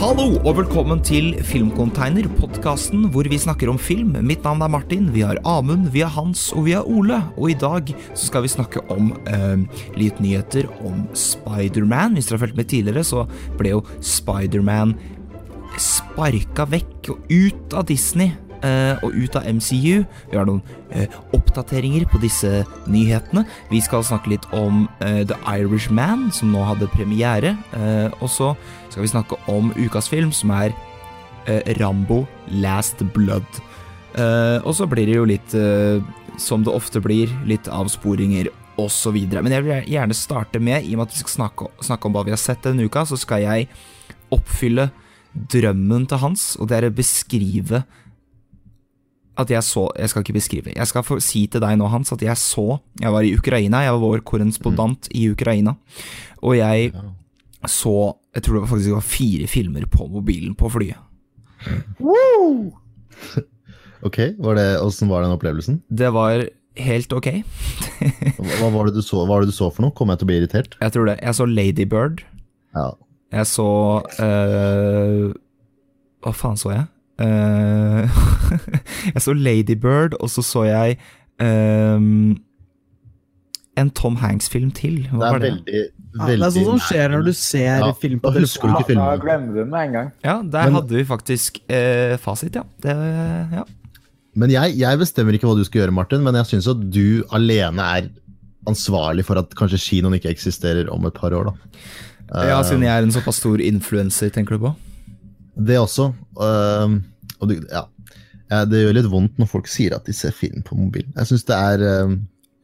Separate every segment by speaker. Speaker 1: Hallo og velkommen til Filmcontainer, podkasten hvor vi snakker om film. Mitt navn er Martin, vi har Amund, vi har Hans og vi har Ole. Og i dag så skal vi snakke om eh, litt nyheter om Spiderman. Hvis dere har fulgt med tidligere, så ble jo Spiderman sparka vekk og ut av Disney. eh, og ut av MCU. Vi har noen eh, oppdateringer på disse nyhetene. Vi skal snakke litt om eh, The Irishman, som nå hadde premiere. eh, og så skal vi snakke om ukas film, som er eh, Rambo Last Blood. Eh, og så blir det jo litt, eh, som det ofte blir, litt avsporinger osv. Men jeg vil gjerne starte med, i og med at vi skal snakke, snakke om hva vi har sett denne uka, så skal jeg oppfylle drømmen til Hans, og det er å beskrive at jeg så Jeg skal ikke beskrive. Jeg skal få si til deg nå, Hans, at jeg så Jeg var i Ukraina. Jeg var vår korrespondent i Ukraina. Og jeg så Jeg tror det var faktisk det var fire filmer på mobilen på flyet.
Speaker 2: Ok, var det, Hvordan var den opplevelsen?
Speaker 1: Det var helt ok.
Speaker 2: Hva, hva, var det du så, hva var det du så for noe? Kommer jeg til å bli irritert?
Speaker 1: Jeg tror det. Jeg så Ladybird.
Speaker 2: Ja.
Speaker 1: Jeg så eh, Hva faen så jeg? Eh, jeg så Ladybird, og så så jeg eh, en Tom Hanks-film til. Hva
Speaker 2: Det
Speaker 1: var
Speaker 2: er
Speaker 1: det?
Speaker 2: veldig,
Speaker 3: Ja,
Speaker 2: veldig
Speaker 3: det er sånn som skjer når du ser
Speaker 2: Ja,
Speaker 3: film
Speaker 2: da
Speaker 3: på
Speaker 2: husker du
Speaker 3: telefonen.
Speaker 2: ikke
Speaker 4: Ja, da
Speaker 2: filmen.
Speaker 4: glemmer du den med en gang.
Speaker 1: Ja, der
Speaker 2: Men-
Speaker 1: hadde vi faktisk eh, fasit, ja. Det, ja.
Speaker 2: Men jeg, jeg bestemmer ikke hva du skal gjøre, Martin, men jeg syns at du alene er ansvarlig for at kanskje kinoen ikke eksisterer om et par år, da. Eh,
Speaker 1: ja, siden jeg er en såpass stor influenser, tenker du på?
Speaker 2: Det også. eh, og du, ja. Eh, Det gjør litt vondt når folk sier at de ser film på mobil. Jeg syns det er eh,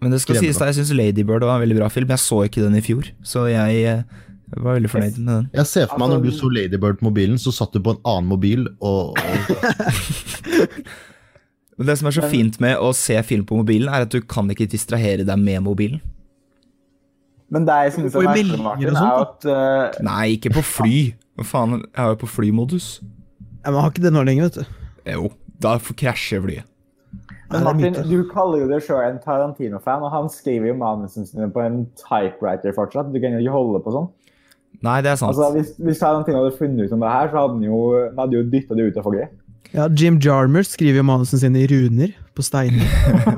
Speaker 1: Men det skal
Speaker 2: Skremmende.
Speaker 1: sies da, jeg syns Ladybird var en veldig bra film. Jeg så ikke den i fjor, så jeg eh, var veldig fornøyd med den.
Speaker 2: Jeg ser for meg
Speaker 4: Altså,
Speaker 2: når du så Ladybird på mobilen, så satt du på en annen mobil og, og
Speaker 1: Men det som er så
Speaker 4: Men-
Speaker 1: fint med å se film på mobilen, er at du kan ikke distrahere deg med mobilen.
Speaker 4: Men det jeg synes
Speaker 3: Får
Speaker 4: er
Speaker 3: jo
Speaker 4: merkelig,
Speaker 3: meldinger
Speaker 4: Martin,
Speaker 3: og
Speaker 4: er jo at eh,
Speaker 1: Nei, ikke på fly. Hva faen, jeg er jo på flymodus.
Speaker 3: Ja, men har ikke det nå lenger, vet du.
Speaker 1: Jo, da f- krasjer flyet.
Speaker 3: Nei,
Speaker 4: men
Speaker 3: det er
Speaker 4: Martin,
Speaker 3: myte.
Speaker 4: du kaller jo deg sjøl en Tarantino-fan, og han skriver jo manusene sine på en typewriter fortsatt. Du kan jo ikke holde på sånn.
Speaker 1: Nei, det er sant.
Speaker 4: Altså, hvis, hvis Tarantino hadde funnet ut om det her, så hadde han jo, han hadde jo dytta det ut av folk.
Speaker 3: Ja, Jim Jarmers skriver jo manusene sine i runer på steiner.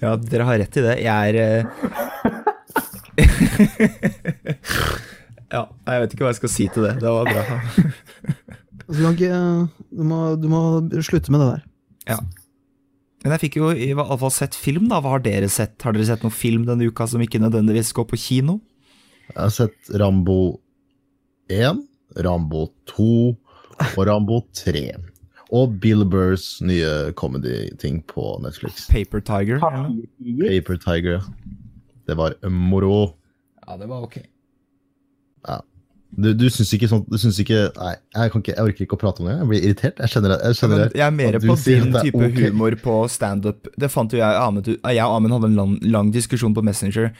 Speaker 1: Ja, dere har rett i det. Jeg er eh, Ja, nei, jeg vet ikke hva jeg skal si til det. Det var bra.
Speaker 3: Altså, du, kan ikke, du, må, du må slutte med det der.
Speaker 1: Men jeg fikk jo i hvert fall sett film, da. Hva har dere sett? Har dere sett noen film denne uka som ikke nødvendigvis går på kino?
Speaker 2: Jeg har sett Rambo 1, Rambo 2 og Rambo 3. Og Bill Burrs nye comedy-ting på Netflix.
Speaker 1: Paper Tiger? eller noe?
Speaker 4: Papirtiger.
Speaker 2: Paper Tiger. Det var moro.
Speaker 1: Ja, det var ok.
Speaker 2: Du, du syns ikke sånn du syns ikke, Nei, jeg, kan ikke, jeg orker ikke å prate om det. Jeg blir irritert. Jeg kjenner det. Jeg kjenner
Speaker 1: Men
Speaker 2: det.
Speaker 1: jeg er mer
Speaker 2: at du
Speaker 1: på
Speaker 2: sier
Speaker 1: din
Speaker 2: at det er
Speaker 1: type
Speaker 2: ok.
Speaker 1: humor på standup. Det fant jo jeg og Amund ut- Jeg og Amund hadde en lang, lang diskusjon på Messenger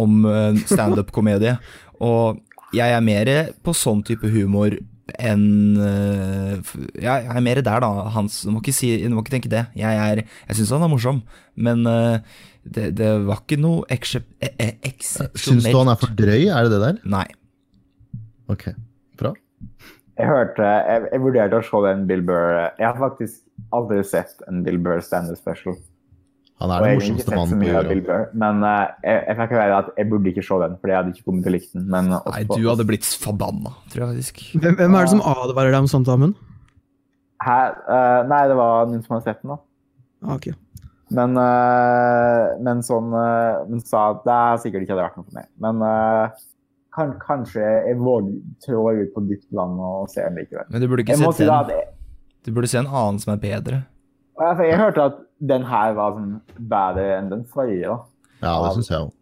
Speaker 1: om eh, standup-komedie. og jeg er mer på sånn type humor enn eh, f- Jeg jeg er mer der, da, Hans. Du må ikke, si, du må ikke tenke det. Jeg, er- jeg syns han er morsom, men eh, det, det var ikke noe eksep- eh, eh,
Speaker 2: Syns du han
Speaker 1: eksepsjonelt.
Speaker 2: er for drøy? Er det det der?
Speaker 1: Nei.
Speaker 2: Ok, bra.
Speaker 4: Jeg hørte Jeg, jeg vurderte å se den Bill Burr Jeg har faktisk aldri sett en Bill Burr standup special.
Speaker 2: Han
Speaker 4: Og
Speaker 2: er
Speaker 4: jeg
Speaker 2: den
Speaker 4: har ikke
Speaker 2: morsomste
Speaker 4: sett så
Speaker 2: mannen på
Speaker 4: mye av Bill
Speaker 2: jorda.
Speaker 4: Burr, men eh, jeg, jeg fikk høre at jeg burde ikke se den, fordi jeg hadde ikke kommet til å like den. Men
Speaker 1: Nei,
Speaker 4: også-
Speaker 1: du hadde blitt forbanna, tror jeg faktisk.
Speaker 3: Hvem, hvem er det som advarer deg om sånt, Amund?
Speaker 4: Hæ? Eh, nei, det var noen som hadde sett den, da.
Speaker 3: Ah, ok.
Speaker 4: Men, eh, men sånn eh, Men sa at det er sikkert ikke hadde vært noe for meg. Men eh, kan, kanskje jeg våger trår ut på dypt land og ser den likevel.
Speaker 1: Men du burde ikke
Speaker 4: Jeg må si
Speaker 1: sett
Speaker 4: da
Speaker 1: den.
Speaker 4: at jeg,
Speaker 1: Du burde se en annen som er bedre.
Speaker 4: altså, jeg hørte at den her var sånn bedre enn den forrige, da.
Speaker 2: Ja, det syns jeg òg.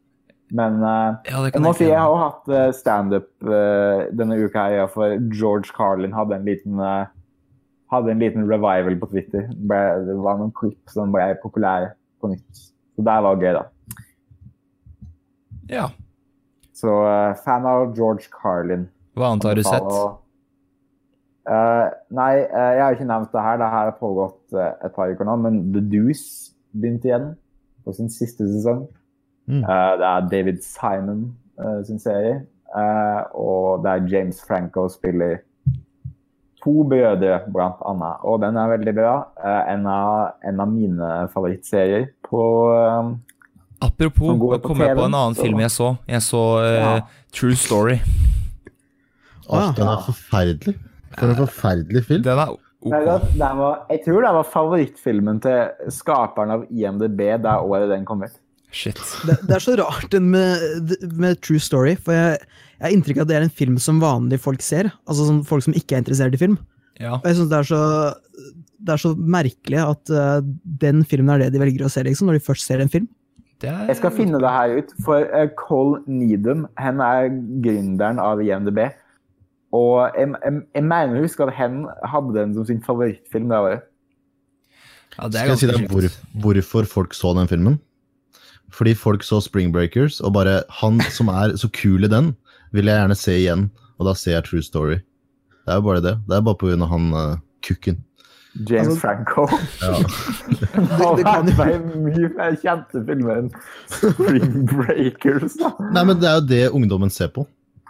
Speaker 4: Men eh,
Speaker 1: Ja, det
Speaker 4: jeg
Speaker 1: kan
Speaker 4: må
Speaker 1: jeg
Speaker 4: si
Speaker 1: ikke-
Speaker 4: jeg har jo hatt eh, standup eh, denne uka her, ja, for George Carlin hadde en liten eh, hadde en liten revival på Twitter. Ble, det var noen klipp som ble populære på nytt. Så det var gøy, da.
Speaker 1: Ja.
Speaker 4: Så eh, fan av George Carlin.
Speaker 1: Hva annet har du sett?
Speaker 4: Og- Eh, nei, eh, jeg har ikke nevnt det her. Det her har pågått eh, et par uker nå, men The Deuce begynte igjen på sin siste sesong.
Speaker 2: Mm.
Speaker 4: Eh, det er David Simon eh, sin serie, eh, og det er James Franco spiller to brødre, blant annet. Og den er veldig bra. Eh, En av, en av mine favorittserier på eh,
Speaker 1: Apropos,
Speaker 4: Som går
Speaker 1: nå
Speaker 4: på
Speaker 1: kom jeg på
Speaker 4: TV-en,
Speaker 1: en annen
Speaker 4: så-
Speaker 1: film jeg så. Jeg så eh,
Speaker 4: Ja.
Speaker 1: True Story.
Speaker 2: Åh,
Speaker 3: Ah.
Speaker 2: den er forferdelig. For en forferdelig film.
Speaker 1: Den er Oh,
Speaker 4: Nei,
Speaker 1: ok.
Speaker 4: det- den var, Jeg tror det var favorittfilmen til skaperen av IMDb det året den kom ut.
Speaker 1: Shit.
Speaker 3: Det, det er så rart den med, med True Story, for jeg, jeg har inntrykk av at det er en film som vanlige folk ser. Altså sånn folk som ikke er interessert i film.
Speaker 1: Ja.
Speaker 3: Og jeg synes det er så det er så merkelig at eh, den filmen er det de velger å se, liksom, når de først ser en film.
Speaker 1: Det er,
Speaker 4: Jeg skal finne det her ut, for eh, Cole Needham hen er gründeren av IMDb. Og jeg, jeg, jeg mener jeg husker at hen hadde den som sin favorittfilm det året.
Speaker 1: ja, det er
Speaker 2: Skal jeg si deg
Speaker 1: ganske
Speaker 2: hvor,
Speaker 1: sjukt.
Speaker 2: hvorfor folk så den filmen? Fordi folk så Spring Breakers, og bare han som er så kul i den, vil jeg gjerne se igjen. Og da ser jeg True Story. Det er jo bare det. Det er bare på grunn av han eh, kukken.
Speaker 4: James
Speaker 3: Altså-
Speaker 4: Franco.
Speaker 2: Ja.
Speaker 4: Det,
Speaker 3: det kan jo-
Speaker 4: mye mer kjente filmer enn Spring Breakers. da.
Speaker 2: Nei, men det er jo det ungdommen ser på.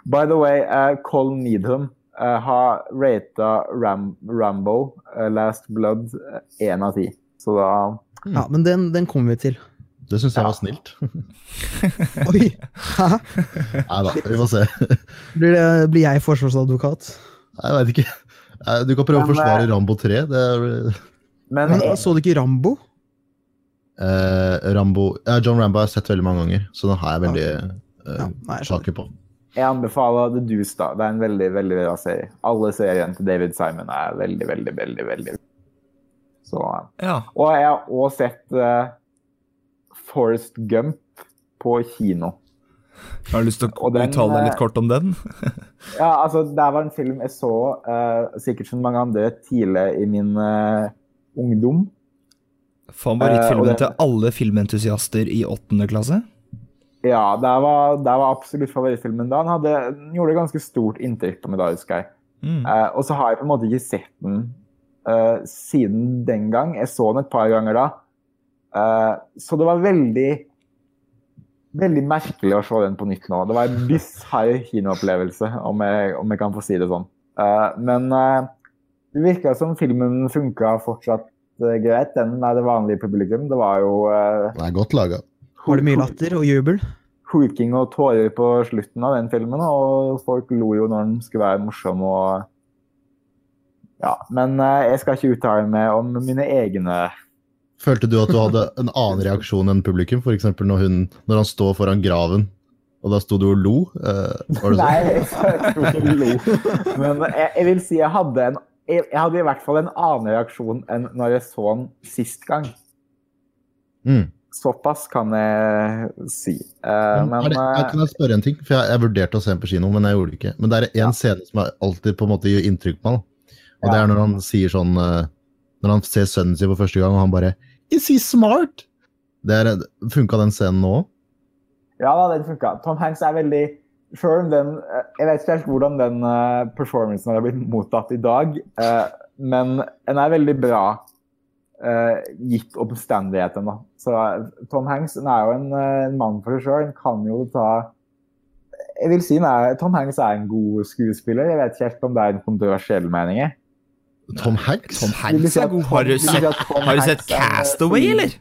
Speaker 4: By the way, eh, Cole Needham eh, har rata Ram Rambo eh, Last Blood én av ti. Så da
Speaker 2: Mm.
Speaker 3: Ja, Men den, den kommer vi til.
Speaker 2: Det syns jeg
Speaker 4: Ja.
Speaker 2: var snilt.
Speaker 3: Oi! Hæ?
Speaker 2: Nei da, vi får se.
Speaker 3: Blir, det, blir jeg forsvarsadvokat?
Speaker 2: Nei, Jeg veit ikke. Nei, Du kan prøve å
Speaker 4: Men, eh,
Speaker 2: forsvare Rambo 3. Det er,
Speaker 4: Men
Speaker 3: Men Så du ikke Rambo?
Speaker 2: eh, Rambo, ja, John Rambo har jeg sett veldig mange ganger, så den har jeg veldig eh,
Speaker 3: Ja, nei, jeg skjønner.
Speaker 2: taket på.
Speaker 4: jeg anbefaler The Deuce, da. Det er en veldig, veldig bra serie. Alle seriene til David Simon er veldig, veldig, veldig veldig Så eh,
Speaker 1: Ja.
Speaker 4: Og jeg har òg sett eh, Forrest Gump på kino.
Speaker 1: Har du lyst til å
Speaker 4: Og den,
Speaker 1: uttale deg litt
Speaker 4: eh,
Speaker 1: kort om den?
Speaker 4: Ja, altså, det var en film jeg så eh, sikkert som mange andre tidlig i min eh, ungdom. eh, og
Speaker 1: Favorittfilmen
Speaker 4: den-
Speaker 1: til alle filmentusiaster i åttende klasse?
Speaker 4: Ja, det var, det var absolutt favorittfilmen da. Den, hadde, den gjorde ganske stort inntrykk på meg da, husker jeg.
Speaker 1: Mm.
Speaker 4: Eh, og så har jeg på en måte ikke sett den eh, siden den gang. Jeg så den et par ganger da. Eh, så det var veldig veldig merkelig å se den på nytt nå. Det var en bisarr kinoopplevelse, om, jeg- om jeg kan få si det sånn. Eh, men eh, det virka som filmen funka fortsatt eh, greit, den med det vanlige publikum. Det var jo eh,
Speaker 2: Den er godt laga.
Speaker 3: Var det mye latter og jubel?
Speaker 4: hulking og tårer på slutten av den filmen, og folk lo jo når den skulle være morsom og Ja, men eh, jeg skal ikke uttale meg om mine egne
Speaker 2: Følte du at du hadde en annen reaksjon enn publikum? For eksempel når, hun, når han står foran graven, og da sto du og lo? eh, var det
Speaker 4: Nei,
Speaker 2: sånn?
Speaker 4: jeg tror ikke de lo. Men eh, jeg, jeg vil si jeg hadde en jeg, jeg hadde i hvert fall en annen reaksjon enn når jeg så den sist gang.
Speaker 2: Mm.
Speaker 4: Såpass kan jeg si. Eh,
Speaker 2: Men, er
Speaker 4: men
Speaker 2: det, jeg,
Speaker 4: eh,
Speaker 2: kan jeg spørre en ting? For jeg, jeg vurderte å se den på kino, men jeg gjorde det ikke. Men det er én scene som jeg alltid på en måte gjør inntrykk på meg. da. Og det
Speaker 4: Ja.
Speaker 2: er når han sier sånn eh, Når han ser sønnen sin for første gang, og han bare Is he smart? Det er, Funka den scenen nå?
Speaker 4: ja da, den funka. Tom Hanks er veldig Sjøl om den eh, Jeg vet ikke helt hvordan den eh, performancen har blitt mottatt i dag, eh, men den er veldig bra eh, gitt omstendighetene. da. Så eh, Tom Hanks han er jo en, eh, en mann for seg sjøl. Han kan jo ta Jeg vil si han er, Tom Hanks er en god skuespiller. Jeg vet ikke helt om det er en kontroversiell mening. jeg.
Speaker 2: Tom Hanks?
Speaker 1: Tom
Speaker 4: Vil du
Speaker 1: Hanks
Speaker 4: si
Speaker 1: er
Speaker 4: at
Speaker 1: god.
Speaker 4: Tom-
Speaker 1: Har du
Speaker 4: vil si
Speaker 1: sett,
Speaker 4: at Tom
Speaker 1: har du sett
Speaker 4: Hanks er en, eh,
Speaker 1: Castaway, eller?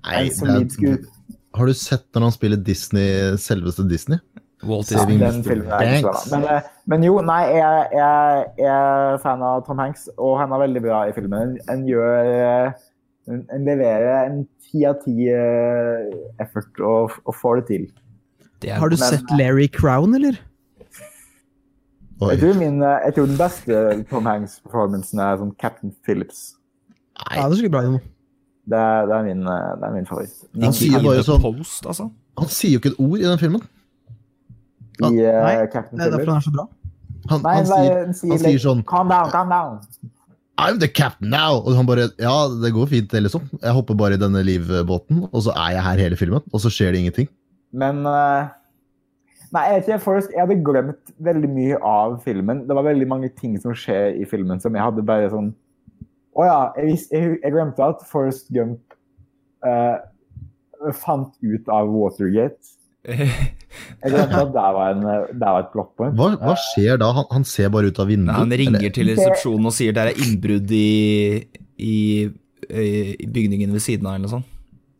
Speaker 2: Nei,
Speaker 4: en solid
Speaker 2: det er,
Speaker 4: skuespiller.
Speaker 2: har du sett når han spiller Disney, selveste Disney?
Speaker 1: Walt
Speaker 2: Ja,
Speaker 1: Disney.
Speaker 2: det-
Speaker 4: den filmen er ikke så bra. Men, eh, men jo, nei, jeg, jeg, jeg er fan av Tom Hanks, og han er veldig bra i filmen. Han gjør eh, Han han leverer en ti av ti eh, effort og, og får det til.
Speaker 1: Det
Speaker 3: Har
Speaker 1: er,
Speaker 3: du
Speaker 4: Men-
Speaker 3: sett Larry Crown, eller?
Speaker 2: Oi.
Speaker 4: Jeg tror, min, eh, jeg tror den beste Tom Hanks-performancen er som Captain Phillips.
Speaker 3: Ja, det er skikkelig bra. Jon.
Speaker 4: Det er, det er, min, eh, det er min favoritt. Men
Speaker 2: Han sier
Speaker 1: ikke
Speaker 2: bare
Speaker 1: i The
Speaker 2: sånn-
Speaker 1: Post, altså.
Speaker 2: Han sier jo ikke et ord i den filmen.
Speaker 4: i eh,
Speaker 3: Nei,
Speaker 4: Captain
Speaker 3: Det er derfor
Speaker 4: Phillips
Speaker 3: den er så bra.
Speaker 2: Han,
Speaker 4: Nei,
Speaker 2: han
Speaker 4: nei,
Speaker 2: sier
Speaker 4: han sier,
Speaker 2: han sier sånn-
Speaker 4: Calm down, calm down.
Speaker 2: I'm the captain now! Og han bare Ja, det går fint, det, liksom. Jeg hopper bare i denne livbåten, og så er jeg her hele filmen. Og så skjer det ingenting.
Speaker 4: Men eh, Nei, jeg vet ikke. Forrest, jeg hadde glemt veldig mye av filmen. Det var veldig mange ting som skjer i filmen som jeg hadde bare sånn Å ja, jeg, vis- jeg, jeg glemte at Forrest
Speaker 1: altså.
Speaker 4: Gump eh, fant ut av Watergate. Jeg glemte at der var, en, eh, der var et plot point.
Speaker 2: Hva, hva skjer da? Han, han ser bare ut av vinduet.
Speaker 1: Nei, han
Speaker 2: eller-
Speaker 1: ringer til resepsjonen og sier det er innbrudd i, i, i bygningen ved siden av, eller noe sånt.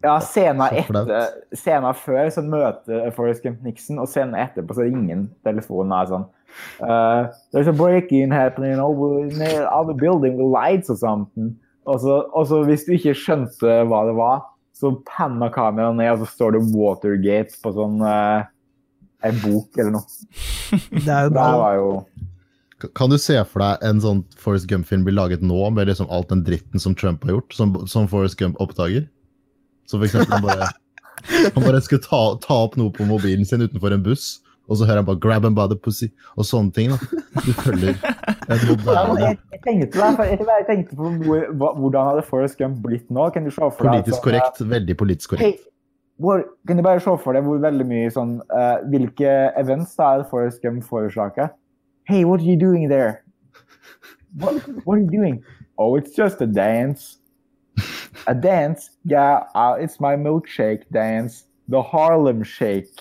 Speaker 4: Ja, scenen
Speaker 2: Så flaut.
Speaker 4: etter, scenen før så møter Forrest Gump Nixon, og scenen etterpå så ringer telefonen og er sånn eh, There's a break-in happening over in the other building with lights or something. Og så, og så hvis du ikke skjønte hva det var, så panna kameraet ned, og så står det Watergate på sånn eh, en bok eller noe.
Speaker 3: Det er jo
Speaker 4: Det
Speaker 3: bra.
Speaker 4: her var jo
Speaker 2: Kan du se for deg en sånn Forrest Gump-film blir laget nå, med liksom alt den dritten som Trump har gjort, som, som Forrest Gump oppdager? Som for eksempel han bare, han bare skulle ta, ta opp noe på mobilen sin utenfor en buss, og så hører han bare 'grab him by the pussy' og sånne ting. da. Du følger et
Speaker 4: Ja, men
Speaker 2: moderne
Speaker 4: jeg, jeg tenkte på, det, for jeg tenkte på hvor, hva- hvordan hadde Forrest Gump blitt nå? Kan du se for deg at
Speaker 2: Politisk
Speaker 4: sånn, eh,
Speaker 2: korrekt. Veldig politisk korrekt.
Speaker 4: Hei, hvor, kan du bare se for deg hvor veldig mye sånn eh, Hvilke events da er det Forrest Gump forårsaker? Hey, what are you doing there? What, what are you doing? Oh, it's just a dance. A dance? Yeah, uh, it's my milkshake dance. The Harlem Shake.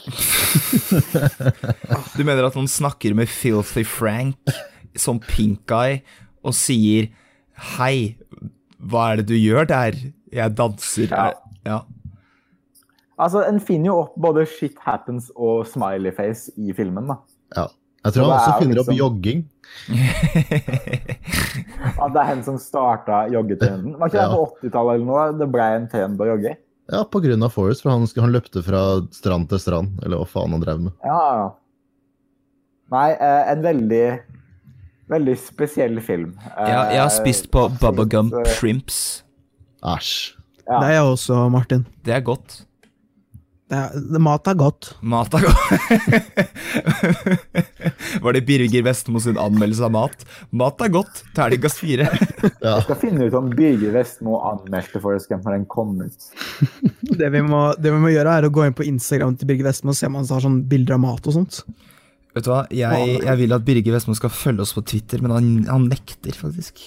Speaker 1: Du mener at han snakker med Filthy Frank som pink eye og sier Hei, hva er det du gjør der? Jeg danser.
Speaker 4: Ja.
Speaker 1: ja.
Speaker 4: Altså, En finner jo opp både Shit Happens og Smiley Face i filmen. da.
Speaker 2: Ja. Jeg tror han
Speaker 4: Så det er
Speaker 2: også
Speaker 4: jo
Speaker 2: finner opp
Speaker 4: liksom-
Speaker 2: jogging.
Speaker 4: At det er hen som starta joggetrenden. Var ikke det på 80-tallet eller noe? Det ble en trend å jogge?
Speaker 2: Ja, på grunn av Forrest, for han, han løpte fra strand til strand, eller hva faen han drev med.
Speaker 4: Ja, ja. Nei, eh, en veldig Veldig spesiell film. Eh,
Speaker 1: Jeg, jeg har spist på
Speaker 4: absolutt,
Speaker 1: bubblegum
Speaker 4: eh,
Speaker 1: shrimps.
Speaker 2: Æsj.
Speaker 4: Ja.
Speaker 3: Det er jeg også, Martin.
Speaker 1: Det er godt.
Speaker 3: Det er, det, mat er godt.
Speaker 1: Mat er godt. Var det Birger Vestmo sin anmeldelse av mat? Mat er godt. Terningkast fire.
Speaker 2: Ja.
Speaker 4: Jeg skal finne ut om Birger Vestmo anmeldte Forrest Gump når den kom ut.
Speaker 3: Det vi, må, det vi må gjøre, er å gå inn på Instagram til Birger Vestmo og se om han har sånn bilder av mat og sånt.
Speaker 1: Vet du hva, jeg, jeg vil at Birger Vestmo skal følge oss på Twitter, men han, han nekter faktisk.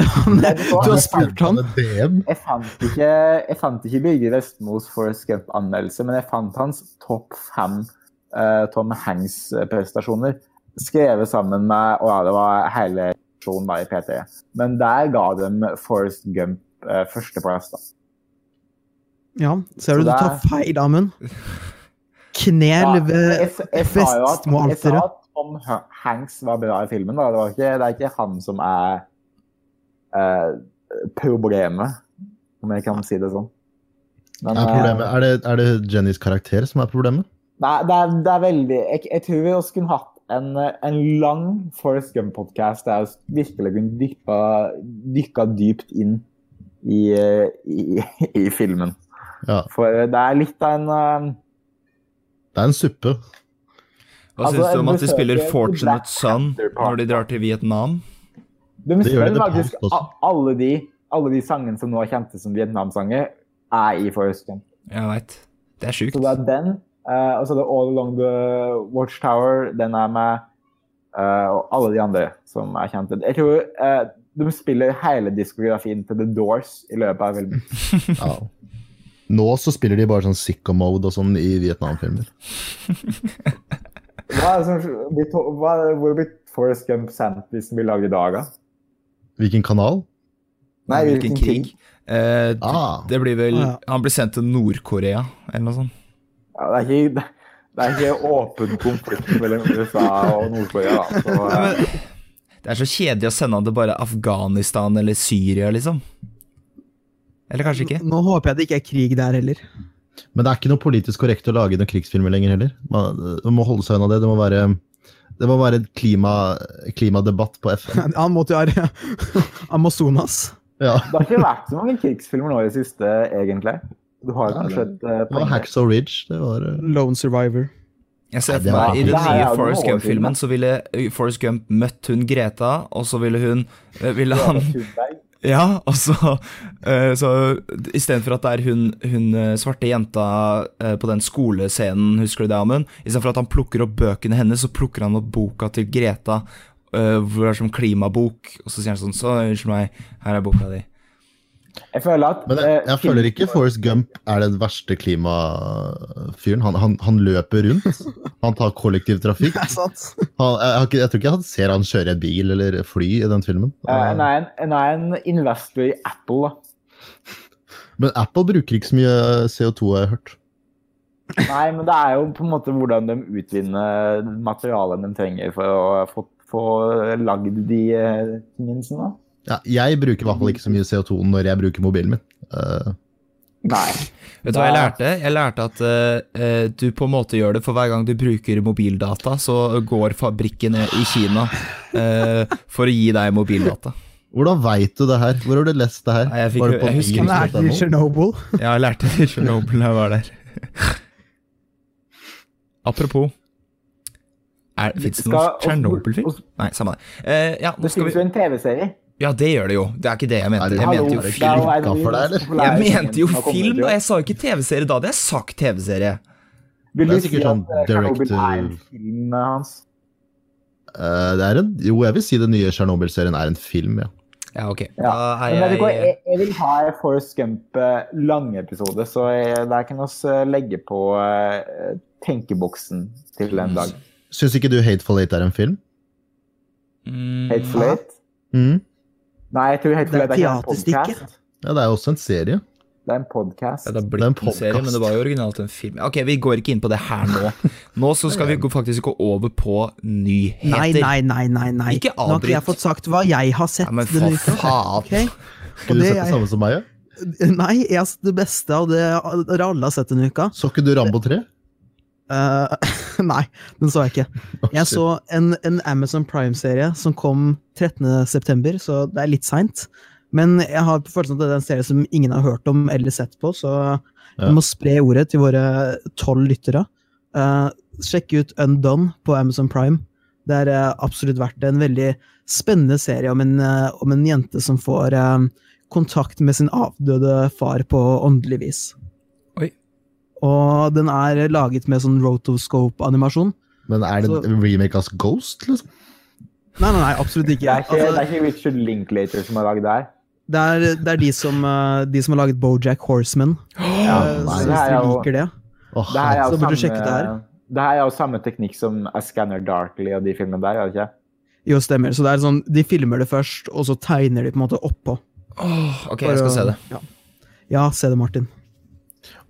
Speaker 3: Du har spurt han.
Speaker 2: et DM.
Speaker 4: Jeg fant ikke, jeg fant ikke Birger Vestmos Forrest Gump-anmeldelse, men jeg fant hans topp fem eh, Tom Hanks-prestasjoner. Skrevet sammen med Og ja, det var hele seksjonen da i P3. Men der ga dem Forrest Gump eh, førsteplass, da.
Speaker 3: Ja, ser du, du
Speaker 4: Så det
Speaker 3: tar
Speaker 4: er-
Speaker 3: feil, Amund. Knel ved
Speaker 4: jeg, jeg sa jo at, jeg sa
Speaker 3: Vestmo-alteret.
Speaker 4: at Tom H- Hanks var bra i filmen. Da. Det, var ikke, det er ikke han som er eh, problemet, om jeg kan si det sånn. Men,
Speaker 2: Er, problemet,
Speaker 4: eh,
Speaker 2: er, det, er det Jennys karakter som er problemet?
Speaker 4: Nei, det er, det er veldig Jeg, jeg tror vi også kunne hatt en, eh, en lang Forest Gump-podkast der vi virkelig kunne dykka, dykka dypt inn i, eh, i, i filmen.
Speaker 2: Ja.
Speaker 4: For det er litt av en eh,
Speaker 2: Det er en suppe.
Speaker 1: Hva
Speaker 4: Altså,
Speaker 1: syns du om
Speaker 4: jeg
Speaker 1: at de spiller
Speaker 4: besøker Black
Speaker 1: Fortunate Son
Speaker 4: Panther Park.
Speaker 1: når de drar til Vietnam?
Speaker 4: De
Speaker 2: Det gjør
Speaker 4: spør
Speaker 2: de det
Speaker 4: faktisk
Speaker 2: på alt også.
Speaker 4: a- alle de, alle de sangene som nå er kjente som Vietnam-sanger, er i Forrest Gump.
Speaker 1: Jeg veit. Det er sjukt.
Speaker 4: Så det er den, eh, og så er det All Along the Watchtower, den er med, eh, og alle de andre som er kjente. Jeg tror eh, de spiller hele diskografien til The Doors i løpet av filmen.
Speaker 2: Ja. Nå så spiller de bare sånn sicko mode og sånn i Vietnam-filmer.
Speaker 4: Hva er det som, de to- hva, hvor blir Forrest Gump sendt hvis den blir laget i dag? da?
Speaker 2: Hvilken kanal?
Speaker 4: Nei,
Speaker 1: Hvilken krig? Eh, d-
Speaker 2: Ah.
Speaker 1: Det blir vel
Speaker 3: Ah,
Speaker 1: Han blir sendt til Nord-Korea, eller noe sånt.
Speaker 4: Ja, det, er ikke, det er ikke åpen konflikt mellom USA og Nord-Korea. da. Så, eh,
Speaker 1: Det er så kjedelig å sende han til bare Afghanistan eller Syria, liksom. Eller kanskje ikke.
Speaker 3: Nå håper jeg det ikke er krig der heller.
Speaker 2: Men det er ikke noe politisk korrekt å lage noen krigsfilmer lenger heller. Man, man må holde seg unna det. Det må være, det må være et klima, klimadebatt på FN.
Speaker 3: Han måtte jo ha Amazonas.
Speaker 2: Ja.
Speaker 4: Det har ikke vært så mange krigsfilmer nå i det siste, egentlig. Du har
Speaker 2: Ja,
Speaker 4: kanskje et eh,
Speaker 2: Det var
Speaker 4: poeng.
Speaker 2: Hacksaw Ridge. Det var eh,
Speaker 3: Lone Survivor.
Speaker 1: Jeg ser
Speaker 2: Nei,
Speaker 1: for
Speaker 2: det var
Speaker 1: meg I den
Speaker 4: det her er
Speaker 1: nye
Speaker 4: jo
Speaker 1: Forest
Speaker 4: noe
Speaker 1: Gump-filmen
Speaker 4: overfilmet.
Speaker 1: så ville eh, Forrest Gump møtt hun Greta, og så ville hun eh, Ville han
Speaker 4: Thunberg.
Speaker 1: Ja, og så, eh, så Istedenfor at det er hun, hun eh, svarte jenta eh, på den skolescenen, husker du det, Amund? Istedenfor at han plukker opp bøkene hennes, så plukker han opp boka til Greta. eh, Hvor det er som klimabok, og så sier han sånn Så, unnskyld meg, her er boka di.
Speaker 4: Jeg føler at eh,
Speaker 2: Men jeg, jeg føler ikke Forrest Gump er den verste klimafyren. Han, han, han løper rundt. Han tar kollektivtrafikk.
Speaker 3: Det er sant.
Speaker 2: Han, jeg, har ikke- jeg tror ikke han ser han kjøre en bil eller fly i den filmen.
Speaker 4: Han er Eh, en- han er en investor i Apple, da.
Speaker 2: Eh, Men Apple bruker ikke så mye CO2, har jeg hørt.
Speaker 4: Nei, men det er jo på en måte hvordan de utvinner materialet de trenger for å få, få lagd de eh, tingene sine.
Speaker 2: Ja, jeg bruker i hvert fall ikke så mye CO2 når jeg bruker mobilen min. Eh,
Speaker 4: Nei.
Speaker 1: Vet du hva jeg lærte? Jeg lærte at eh, eh, du på en måte gjør det, for hver gang du bruker mobildata, så går fabrikken i Kina eh, for å gi deg mobildata.
Speaker 2: hvordan veit du det her? Hvor har du lest det her?
Speaker 1: Nei, jeg fikk
Speaker 2: Var
Speaker 1: jo-
Speaker 2: det på
Speaker 1: jeg husker
Speaker 3: Han
Speaker 1: ikke
Speaker 3: er til
Speaker 2: nyheten.no?
Speaker 3: Chernobyl.
Speaker 1: Ja, jeg lærte det i Tsjernobyl da jeg var der. Apropos Fins det noen
Speaker 4: Skal-
Speaker 1: Tsjernobyl-film? Nei, samme det. Eh, ja, nå
Speaker 4: Det
Speaker 1: skal
Speaker 4: finnes
Speaker 1: vi...
Speaker 4: jo en TV-serie.
Speaker 1: ja, det gjør det jo. Det er ikke det jeg
Speaker 2: Er
Speaker 1: mente.
Speaker 2: det-
Speaker 1: Jeg
Speaker 2: Hallo,
Speaker 1: mente jo
Speaker 2: det er
Speaker 1: film.
Speaker 2: ikke for deg, eller?
Speaker 1: Jeg mente jo film, da. Jeg sa jo ikke TV-serie da. Det er sagt TV-serie.
Speaker 4: Vil
Speaker 2: Det
Speaker 4: du
Speaker 2: er
Speaker 4: si
Speaker 2: sikkert
Speaker 4: at
Speaker 2: sånn
Speaker 4: eh, Chernobyl
Speaker 2: direct to-
Speaker 4: er en film eh, hans?
Speaker 2: Eh, det er en, jo, jeg vil si den nye Tsjernobyl-serien er en film, ja.
Speaker 1: Ja, ok.
Speaker 4: Ja.
Speaker 1: Da
Speaker 4: Men e-
Speaker 1: er
Speaker 4: vet du hva,
Speaker 1: jeg
Speaker 4: jeg, jeg vil ha en Forrest Gump-lange episode, så jeg, der kan vi legge på eh, tenkeboksen til en dag.
Speaker 3: Mm.
Speaker 2: Syns ikke du Hateful Eight er en film?
Speaker 1: Mm,
Speaker 4: Hateful Eight?
Speaker 2: Mm.
Speaker 4: Nei, jeg tror Hateful
Speaker 3: Det er
Speaker 4: Eight er ikke en
Speaker 3: teaterstykke.
Speaker 4: podcast.
Speaker 2: Ja, det er jo også en serie.
Speaker 4: Det er en podcast.
Speaker 1: Ja, det har
Speaker 2: Det er en
Speaker 1: blitt en serie,
Speaker 2: podcast.
Speaker 1: men det var jo originalt en film. Ok, vi går ikke inn på det her nå. Nå så skal vi gå- faktisk gå over på nyheter.
Speaker 3: Nei, nei, nei, nei. nei.
Speaker 1: Ikke
Speaker 3: Nå har
Speaker 1: avbryt.
Speaker 3: ikke jeg fått sagt hva jeg har sett
Speaker 1: Ja, men
Speaker 3: denne
Speaker 1: for
Speaker 3: uka.
Speaker 1: faen.
Speaker 3: Ok? Og
Speaker 2: Skulle du
Speaker 3: det
Speaker 2: sett det
Speaker 3: jeg,
Speaker 2: samme som meg? Ja?
Speaker 3: nei, jeg har sett det beste av det dere alle har sett denne uka.
Speaker 2: Så ikke du Rambo 3?
Speaker 3: Eh, nei, den så jeg ikke. Jeg så en, en Amazon Prime-serie som kom 13.9, så det er litt seint. Men jeg har på følelsen at det er en serie som ingen har hørt om eller sett på, så
Speaker 2: Ja.
Speaker 3: vi må spre ordet til våre tolv lyttere. Eh, sjekk ut Undone på Amazon Prime. Det er eh, absolutt verdt det. En veldig spennende serie om en, eh, om en jente som får eh, kontakt med sin avdøde far på åndelig vis.
Speaker 1: Oi.
Speaker 3: Og den er laget med sånn rotoscope-animasjon.
Speaker 2: Men er det en remake av Ghost, liksom?
Speaker 3: Nei, nei, nei, absolutt ikke.
Speaker 4: Det er ikke, det
Speaker 3: Altså,
Speaker 4: er ikke Richard Linklater som har lagd det her.
Speaker 3: det er, det er de, som, eh, de som har laget Bojack Horseman.
Speaker 2: Ja,
Speaker 3: eh,
Speaker 2: nei.
Speaker 3: så
Speaker 4: Det
Speaker 3: hvis
Speaker 4: her er
Speaker 3: dere
Speaker 4: jo-
Speaker 3: liker det
Speaker 2: Åh,
Speaker 4: Det her er
Speaker 3: Så
Speaker 4: jo
Speaker 3: burde du
Speaker 4: samme,
Speaker 3: sjekke det her.
Speaker 4: det her er jo samme teknikk som A Scanner Darkly og de filmene der, er det ikke?
Speaker 3: Jo, stemmer. Så det er sånn, De filmer det først, og så tegner de på en måte oppå.
Speaker 1: Åh, ok, jeg skal
Speaker 3: For å-
Speaker 1: se det.
Speaker 3: Ja, ja se det, Martin.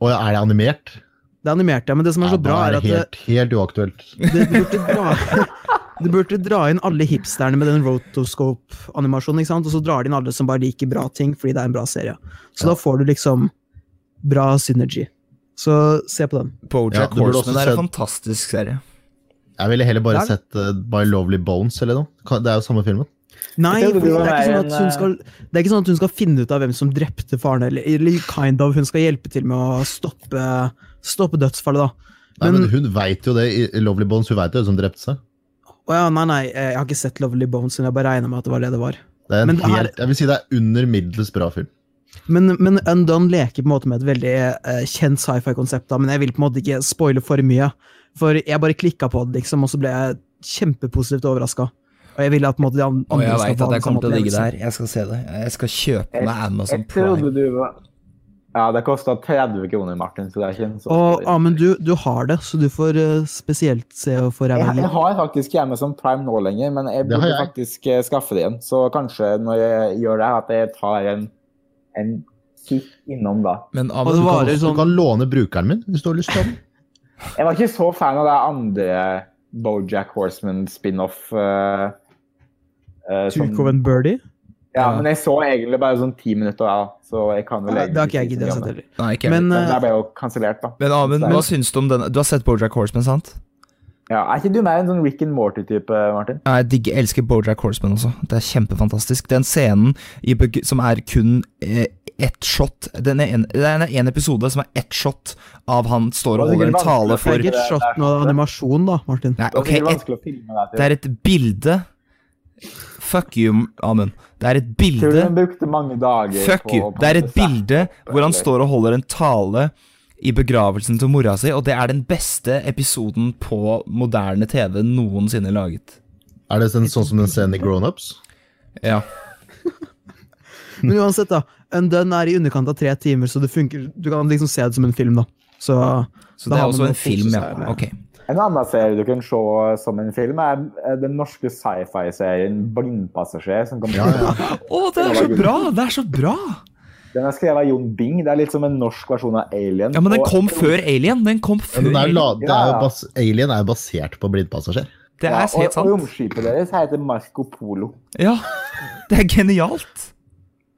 Speaker 2: Åh, er det animert?
Speaker 3: Det animerte jeg, men det som er så
Speaker 2: Ja, da
Speaker 3: bra, er at det,
Speaker 2: helt, helt uaktuelt.
Speaker 3: det burde dra Du burde dra inn alle hipsterne med den rotoscope-animasjonen, ikke sant? og så drar de inn alle som bare liker bra ting fordi det er en bra serie. Så da får du liksom bra synergy. Så se på den.
Speaker 2: Ja,
Speaker 1: Bojack
Speaker 2: du burde
Speaker 1: Horseman
Speaker 2: også
Speaker 1: er en
Speaker 2: sett-
Speaker 1: fantastisk serie.
Speaker 2: Jeg ville heller bare
Speaker 3: Der-
Speaker 2: sett uh, My Lovely Bones eller noe. Kan- Det er jo samme filmen.
Speaker 3: Nei,
Speaker 4: Jeg
Speaker 3: for det
Speaker 4: trodde
Speaker 3: er,
Speaker 4: det var
Speaker 3: ikke sånn
Speaker 4: en, eh,
Speaker 3: at hun skal, det er ikke sånn at hun skal finne ut av hvem som drepte faren, eller, eller kind of, hun skal hjelpe til med å stoppe, stoppe dødsfallet, da.
Speaker 2: Nei, men,
Speaker 3: Men-
Speaker 2: hun veit jo det i i Lovely Bones, hun veit jo hvem som drepte seg.
Speaker 3: Å ja, nei, nei, jeg har ikke sett Lovely Bones, men jeg bare regna med at det var det det var.
Speaker 2: Det er en
Speaker 3: Men det her-
Speaker 2: helt, jeg vil si det er under middels bra film.
Speaker 3: Men, men Undone leker på en måte med et veldig eh, kjent sci-fi-konsept, da, men jeg vil på en måte ikke spoile for mye. For jeg bare klikka på det, liksom, og så ble jeg kjempepositivt overraska. Og jeg ville at på en måte de an-
Speaker 1: Og
Speaker 3: andre
Speaker 1: jeg
Speaker 3: skal
Speaker 1: veit
Speaker 3: få
Speaker 1: at jeg
Speaker 3: ha den samme
Speaker 1: kommer til å digge det
Speaker 3: opplevelsen.
Speaker 1: her. Jeg skal se det. Jeg skal kjøpe meg Amazon
Speaker 4: Jeg trodde
Speaker 1: Prime.
Speaker 4: du var Ja, det kosta 30 kroner, Martin, så det er ikke en så
Speaker 3: Og
Speaker 4: stor-
Speaker 3: Amund, du, du har det, så du får eh, spesielt se og få ræva
Speaker 4: jeg,
Speaker 3: i.
Speaker 4: jeg har faktisk ikke Amazon Prime nå lenger, men jeg
Speaker 2: Det har
Speaker 4: burde
Speaker 2: jeg.
Speaker 4: faktisk eh, skaffe det igjen. Så kanskje når jeg gjør det, at jeg tar en, en kikk innom da.
Speaker 1: Men
Speaker 3: Og det
Speaker 1: Amund,
Speaker 3: varer
Speaker 2: Du
Speaker 3: sånn
Speaker 2: kan låne brukeren min hvis du har lyst til den.
Speaker 4: Jeg var ikke så fan av det andre Bojack Horseman-spin-off. eh, eh, som-
Speaker 3: Tuco and Birdie?
Speaker 4: Ja,
Speaker 1: Ja.
Speaker 4: men jeg så egentlig bare sånn ti minutter, ja. Så jeg kan vel
Speaker 3: Nei, det har ikke jeg giddet å
Speaker 4: se
Speaker 3: sett heller.
Speaker 1: Nei, ikke
Speaker 3: Men,
Speaker 1: heller.
Speaker 4: Men det
Speaker 3: eh,
Speaker 4: ble jo kansellert, da.
Speaker 1: Men Amund,
Speaker 4: Men-
Speaker 1: hva syns du om den? Du har sett Bojack Horseman, sant?
Speaker 4: Ja, er ikke du mer en sånn Rick and Morty-type, Martin?
Speaker 1: Ja, Jeg digger, elsker Bojack Horseman også. Det er kjempefantastisk. Den scenen i, beg- som er kun eh, ett shot den er en, Det er en- en episode som er ett shot av han står og
Speaker 4: Det er
Speaker 1: holder en
Speaker 4: sikkert
Speaker 1: tale
Speaker 4: vanskelig å
Speaker 1: for
Speaker 3: Det er ikke et shot med animasjon, da, Martin.
Speaker 1: Nei,
Speaker 4: Det er
Speaker 1: ok,
Speaker 4: sikkert
Speaker 1: et,
Speaker 4: vanskelig å filme deg
Speaker 1: det
Speaker 4: til.
Speaker 1: er et bilde Fuck you, Amund. Det er et
Speaker 4: Tror du
Speaker 1: bilde
Speaker 4: hun brukte mange dager
Speaker 1: Fuck you. Det er et bilde hvor han står og holder en tale i begravelsen til mora si, og det er den beste episoden på moderne TV noensinne laget.
Speaker 2: Er det sånn, sånn som den scenen i Grown Ups?
Speaker 1: Ja.
Speaker 3: Men uansett, da. Undone er i underkant av tre timer, så det funker, du kan liksom se det som en film. da. Så
Speaker 1: Så
Speaker 3: Da
Speaker 1: det er
Speaker 3: har man
Speaker 1: også
Speaker 3: noe å
Speaker 1: en film,
Speaker 3: kose
Speaker 1: ja.
Speaker 3: seg med.
Speaker 1: Ok.
Speaker 4: En annen serie du kan se som en film, er eh, den norske sci-fi-serien 'Blindpassasjer'. som kom
Speaker 2: Ja, ja.
Speaker 1: Å, det er så bra! Det er så bra!
Speaker 4: Den er skrevet av Jon Bing. Det er litt som en norsk versjon av Alien.
Speaker 1: Ja, men den
Speaker 4: Og-
Speaker 1: kom før Alien. Den kom
Speaker 2: Ja,
Speaker 1: før
Speaker 2: den er jo
Speaker 1: Alien.
Speaker 2: la, det er jo
Speaker 4: Ja.
Speaker 2: bas, Alien er jo basert på blindpassasjer.
Speaker 1: Det
Speaker 4: Ja,
Speaker 1: er helt
Speaker 4: Og, og
Speaker 1: sant.
Speaker 4: romskipet deres heter Marco Polo.
Speaker 1: Ja. Det er genialt.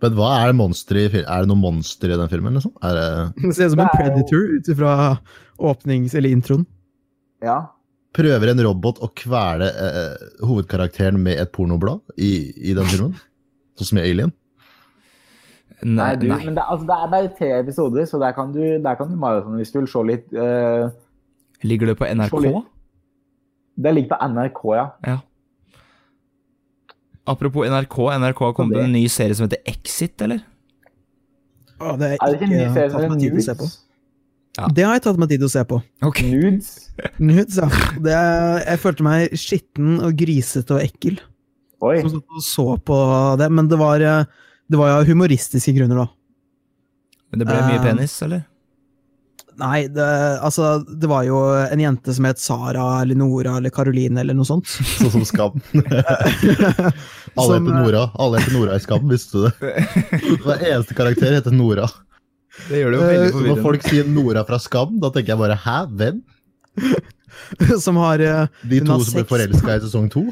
Speaker 2: Men hva er det monster i fil- Er det noe monster i den filmen? Liksom? Er det,
Speaker 3: det ser ut som en
Speaker 4: Det er jo-
Speaker 3: predator ut ifra åpnings- eller introen.
Speaker 4: Ja.
Speaker 2: prøver en robot å kvele eh, hovedkarakteren med et pornoblad i, i den filmen? Sånn som i Alien?
Speaker 1: Nei,
Speaker 4: Nei, du,
Speaker 1: nei.
Speaker 4: Men det, altså, det er bare tre episoder, så der kan du, der kan du maraton hvis du vil se litt. eh,
Speaker 1: Ligger det på NRK?
Speaker 4: Sorry. det ligger på NRK, ja.
Speaker 1: Ja. Apropos NRK. NRK har kommet med en ny serie som heter Exit, eller?
Speaker 3: Å, det, har
Speaker 4: Er det
Speaker 3: jeg
Speaker 4: ikke en ny
Speaker 3: ikke
Speaker 4: serie som
Speaker 3: tatt
Speaker 4: heter
Speaker 3: meg tid til å se på.
Speaker 4: Nudes?
Speaker 3: det har jeg tatt meg tid til å se på.
Speaker 1: Ok.
Speaker 4: Nudes?
Speaker 3: Nudes, ja. Det, jeg følte meg skitten og grisete og ekkel
Speaker 4: Oi.
Speaker 3: som satt og så på det, men det var, eh, det var jo humoristiske grunner, da.
Speaker 1: Men det ble mye
Speaker 3: Eh,
Speaker 1: penis, eller?
Speaker 3: Nei, det, altså, det var jo en jente som het Sara eller Nora eller Karoline eller noe sånt.
Speaker 2: Sånn som Skam. Alle
Speaker 3: Som, eh,
Speaker 2: heter Nora. Alle heter Nora i Skam, visste du det? Hver eneste karakter heter Nora.
Speaker 1: Det gjør det
Speaker 3: jo veldig
Speaker 2: Så når folk sier Nora fra Skam, da tenker jeg bare hæ, hvem?
Speaker 3: eh, Som har eh,
Speaker 2: De
Speaker 3: Hun
Speaker 2: to
Speaker 3: har
Speaker 2: som ble
Speaker 3: sex.
Speaker 2: forelska i sesong to?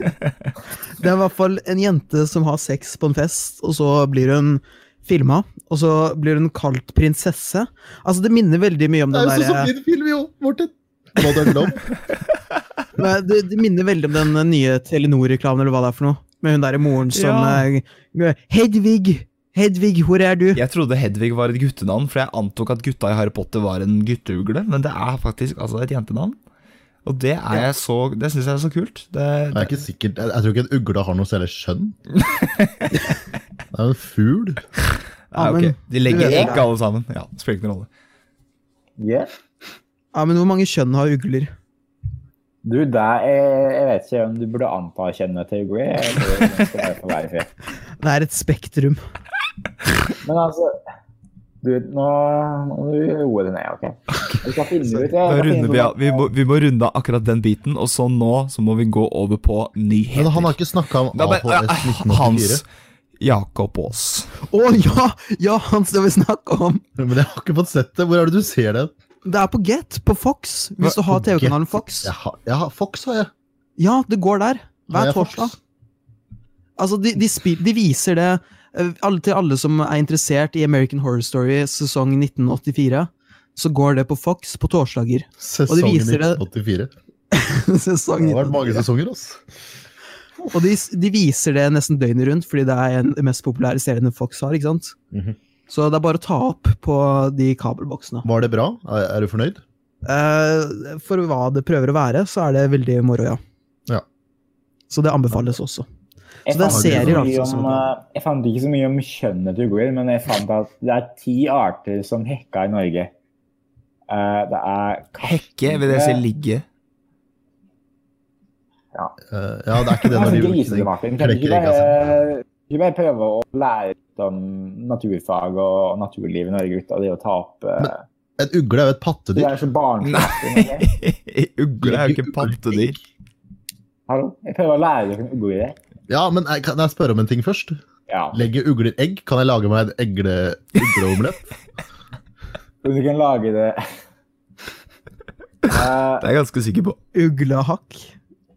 Speaker 3: Det er i hvert fall en jente som har sex på en fest, og så blir hun filma. Og så blir hun kalt prinsesse. Altså, det minner veldig mye om
Speaker 2: Det
Speaker 3: den
Speaker 2: er jo sånn som
Speaker 3: derre
Speaker 2: din film, jo, Morten! Modern Love.
Speaker 3: Nei, eh, det, det minner veldig om den eh, nye Telenor-reklamen, eller hva det er for noe. Med hun derre moren som
Speaker 1: Ja.
Speaker 3: eh, Hedvig! Hedvig, hvor er du?
Speaker 1: Jeg trodde Hedvig var et guttenavn, for jeg antok at gutta i Harry Potter var en gutteugle, men det er faktisk altså et jentenavn. Og det er jeg så Det syns jeg er så kult. Det,
Speaker 2: Jeg er ikke sikker, jeg, jeg tror ikke en ugle har noe særlig skjønn. Det er jo en fugl.
Speaker 1: Nei, ok.
Speaker 3: Amen.
Speaker 1: De legger
Speaker 3: Du vet
Speaker 1: egg, alle sammen. Ja, det Spiller ikke noen rolle.
Speaker 4: Yeah.
Speaker 3: Ja, men hvor mange kjønn har ugler?
Speaker 4: Du, der er, jeg vet ikke om du burde anta kjønnet til Ugly. jeg tror det skal være for hver fe.
Speaker 3: Det er et spektrum.
Speaker 4: Men altså du, Nå må du roe deg ned, OK? Vi skal finne ut
Speaker 1: Da runder vi, av.
Speaker 4: det.
Speaker 1: vi, må, vi må runde av akkurat den biten, og så nå så må vi gå over på nyheter.
Speaker 2: Men han har ikke snakka om
Speaker 1: Da bare-
Speaker 2: AHS
Speaker 1: Hans
Speaker 2: 1984.
Speaker 1: Jakob Aas.
Speaker 3: Å ja! Ja, Hans, det vil vi snakke om!
Speaker 2: Men jeg har ikke fått sett det. Hvor er det du ser det?
Speaker 3: Det er på Get, på Fox. Hvis du
Speaker 2: Hva-
Speaker 3: har
Speaker 2: på
Speaker 3: TV-kanalen Fox.
Speaker 2: Jeg har, jeg har Fox, har jeg.
Speaker 3: Ja, det går der.
Speaker 2: Har
Speaker 3: Hver
Speaker 2: jeg Fox?
Speaker 3: torsdag. Altså, de, de, spil, de viser det eh, alle, til alle som er interessert i American Horror Story sesong 1984. Så går det på Fox på torsdager.
Speaker 2: Sesongen
Speaker 3: viser det-
Speaker 2: 1984.
Speaker 3: sesong
Speaker 2: Det har vært
Speaker 3: 1984.
Speaker 2: mange sesonger, ass.
Speaker 3: Og de, de viser det nesten døgnet rundt, fordi det er en av de mest populære seriene Fox har. ikke sant?
Speaker 2: Mhm.
Speaker 3: Så det er bare å ta opp på de kabelboksene.
Speaker 2: Var det bra? Er, er du fornøyd?
Speaker 3: Eh, for hva det prøver å være, så er det veldig moro, ja.
Speaker 2: Ja.
Speaker 3: Så det anbefales også.
Speaker 4: Jeg
Speaker 3: Så det er
Speaker 4: fant ikke
Speaker 2: serier,
Speaker 4: så mye
Speaker 3: altså, som-
Speaker 4: Om, eh, jeg fant ikke så mye om kjønnet til Google, men jeg fant at det er ti arter som hekka i Norge. Eh, det er
Speaker 1: Hekke, vil jeg si ligge.
Speaker 2: Eh, ja, det er ikke det når
Speaker 4: Altså,
Speaker 2: de
Speaker 4: grisete, Martin. Kan du ikke
Speaker 2: klekker egga sine.
Speaker 4: bare, ikke bare prøve å lære litt om naturfag og naturliv i Norge uten det å ta opp eh,
Speaker 2: En ugle er jo et
Speaker 4: Du
Speaker 2: pattedyr.
Speaker 4: er så barnslig.
Speaker 1: Ugle er jo ikke pattedyr.
Speaker 4: Hallo? Jeg prøver å lære dere noen ord i det.
Speaker 2: Ja, men jeg, Kan jeg spørre om en ting først?
Speaker 4: Ja.
Speaker 2: Legger ugler egg? Kan jeg lage meg en egle, ugleomelett?
Speaker 4: Om du kan lage det Eh,
Speaker 1: Det er jeg ganske sikker på.
Speaker 3: Uglehakk.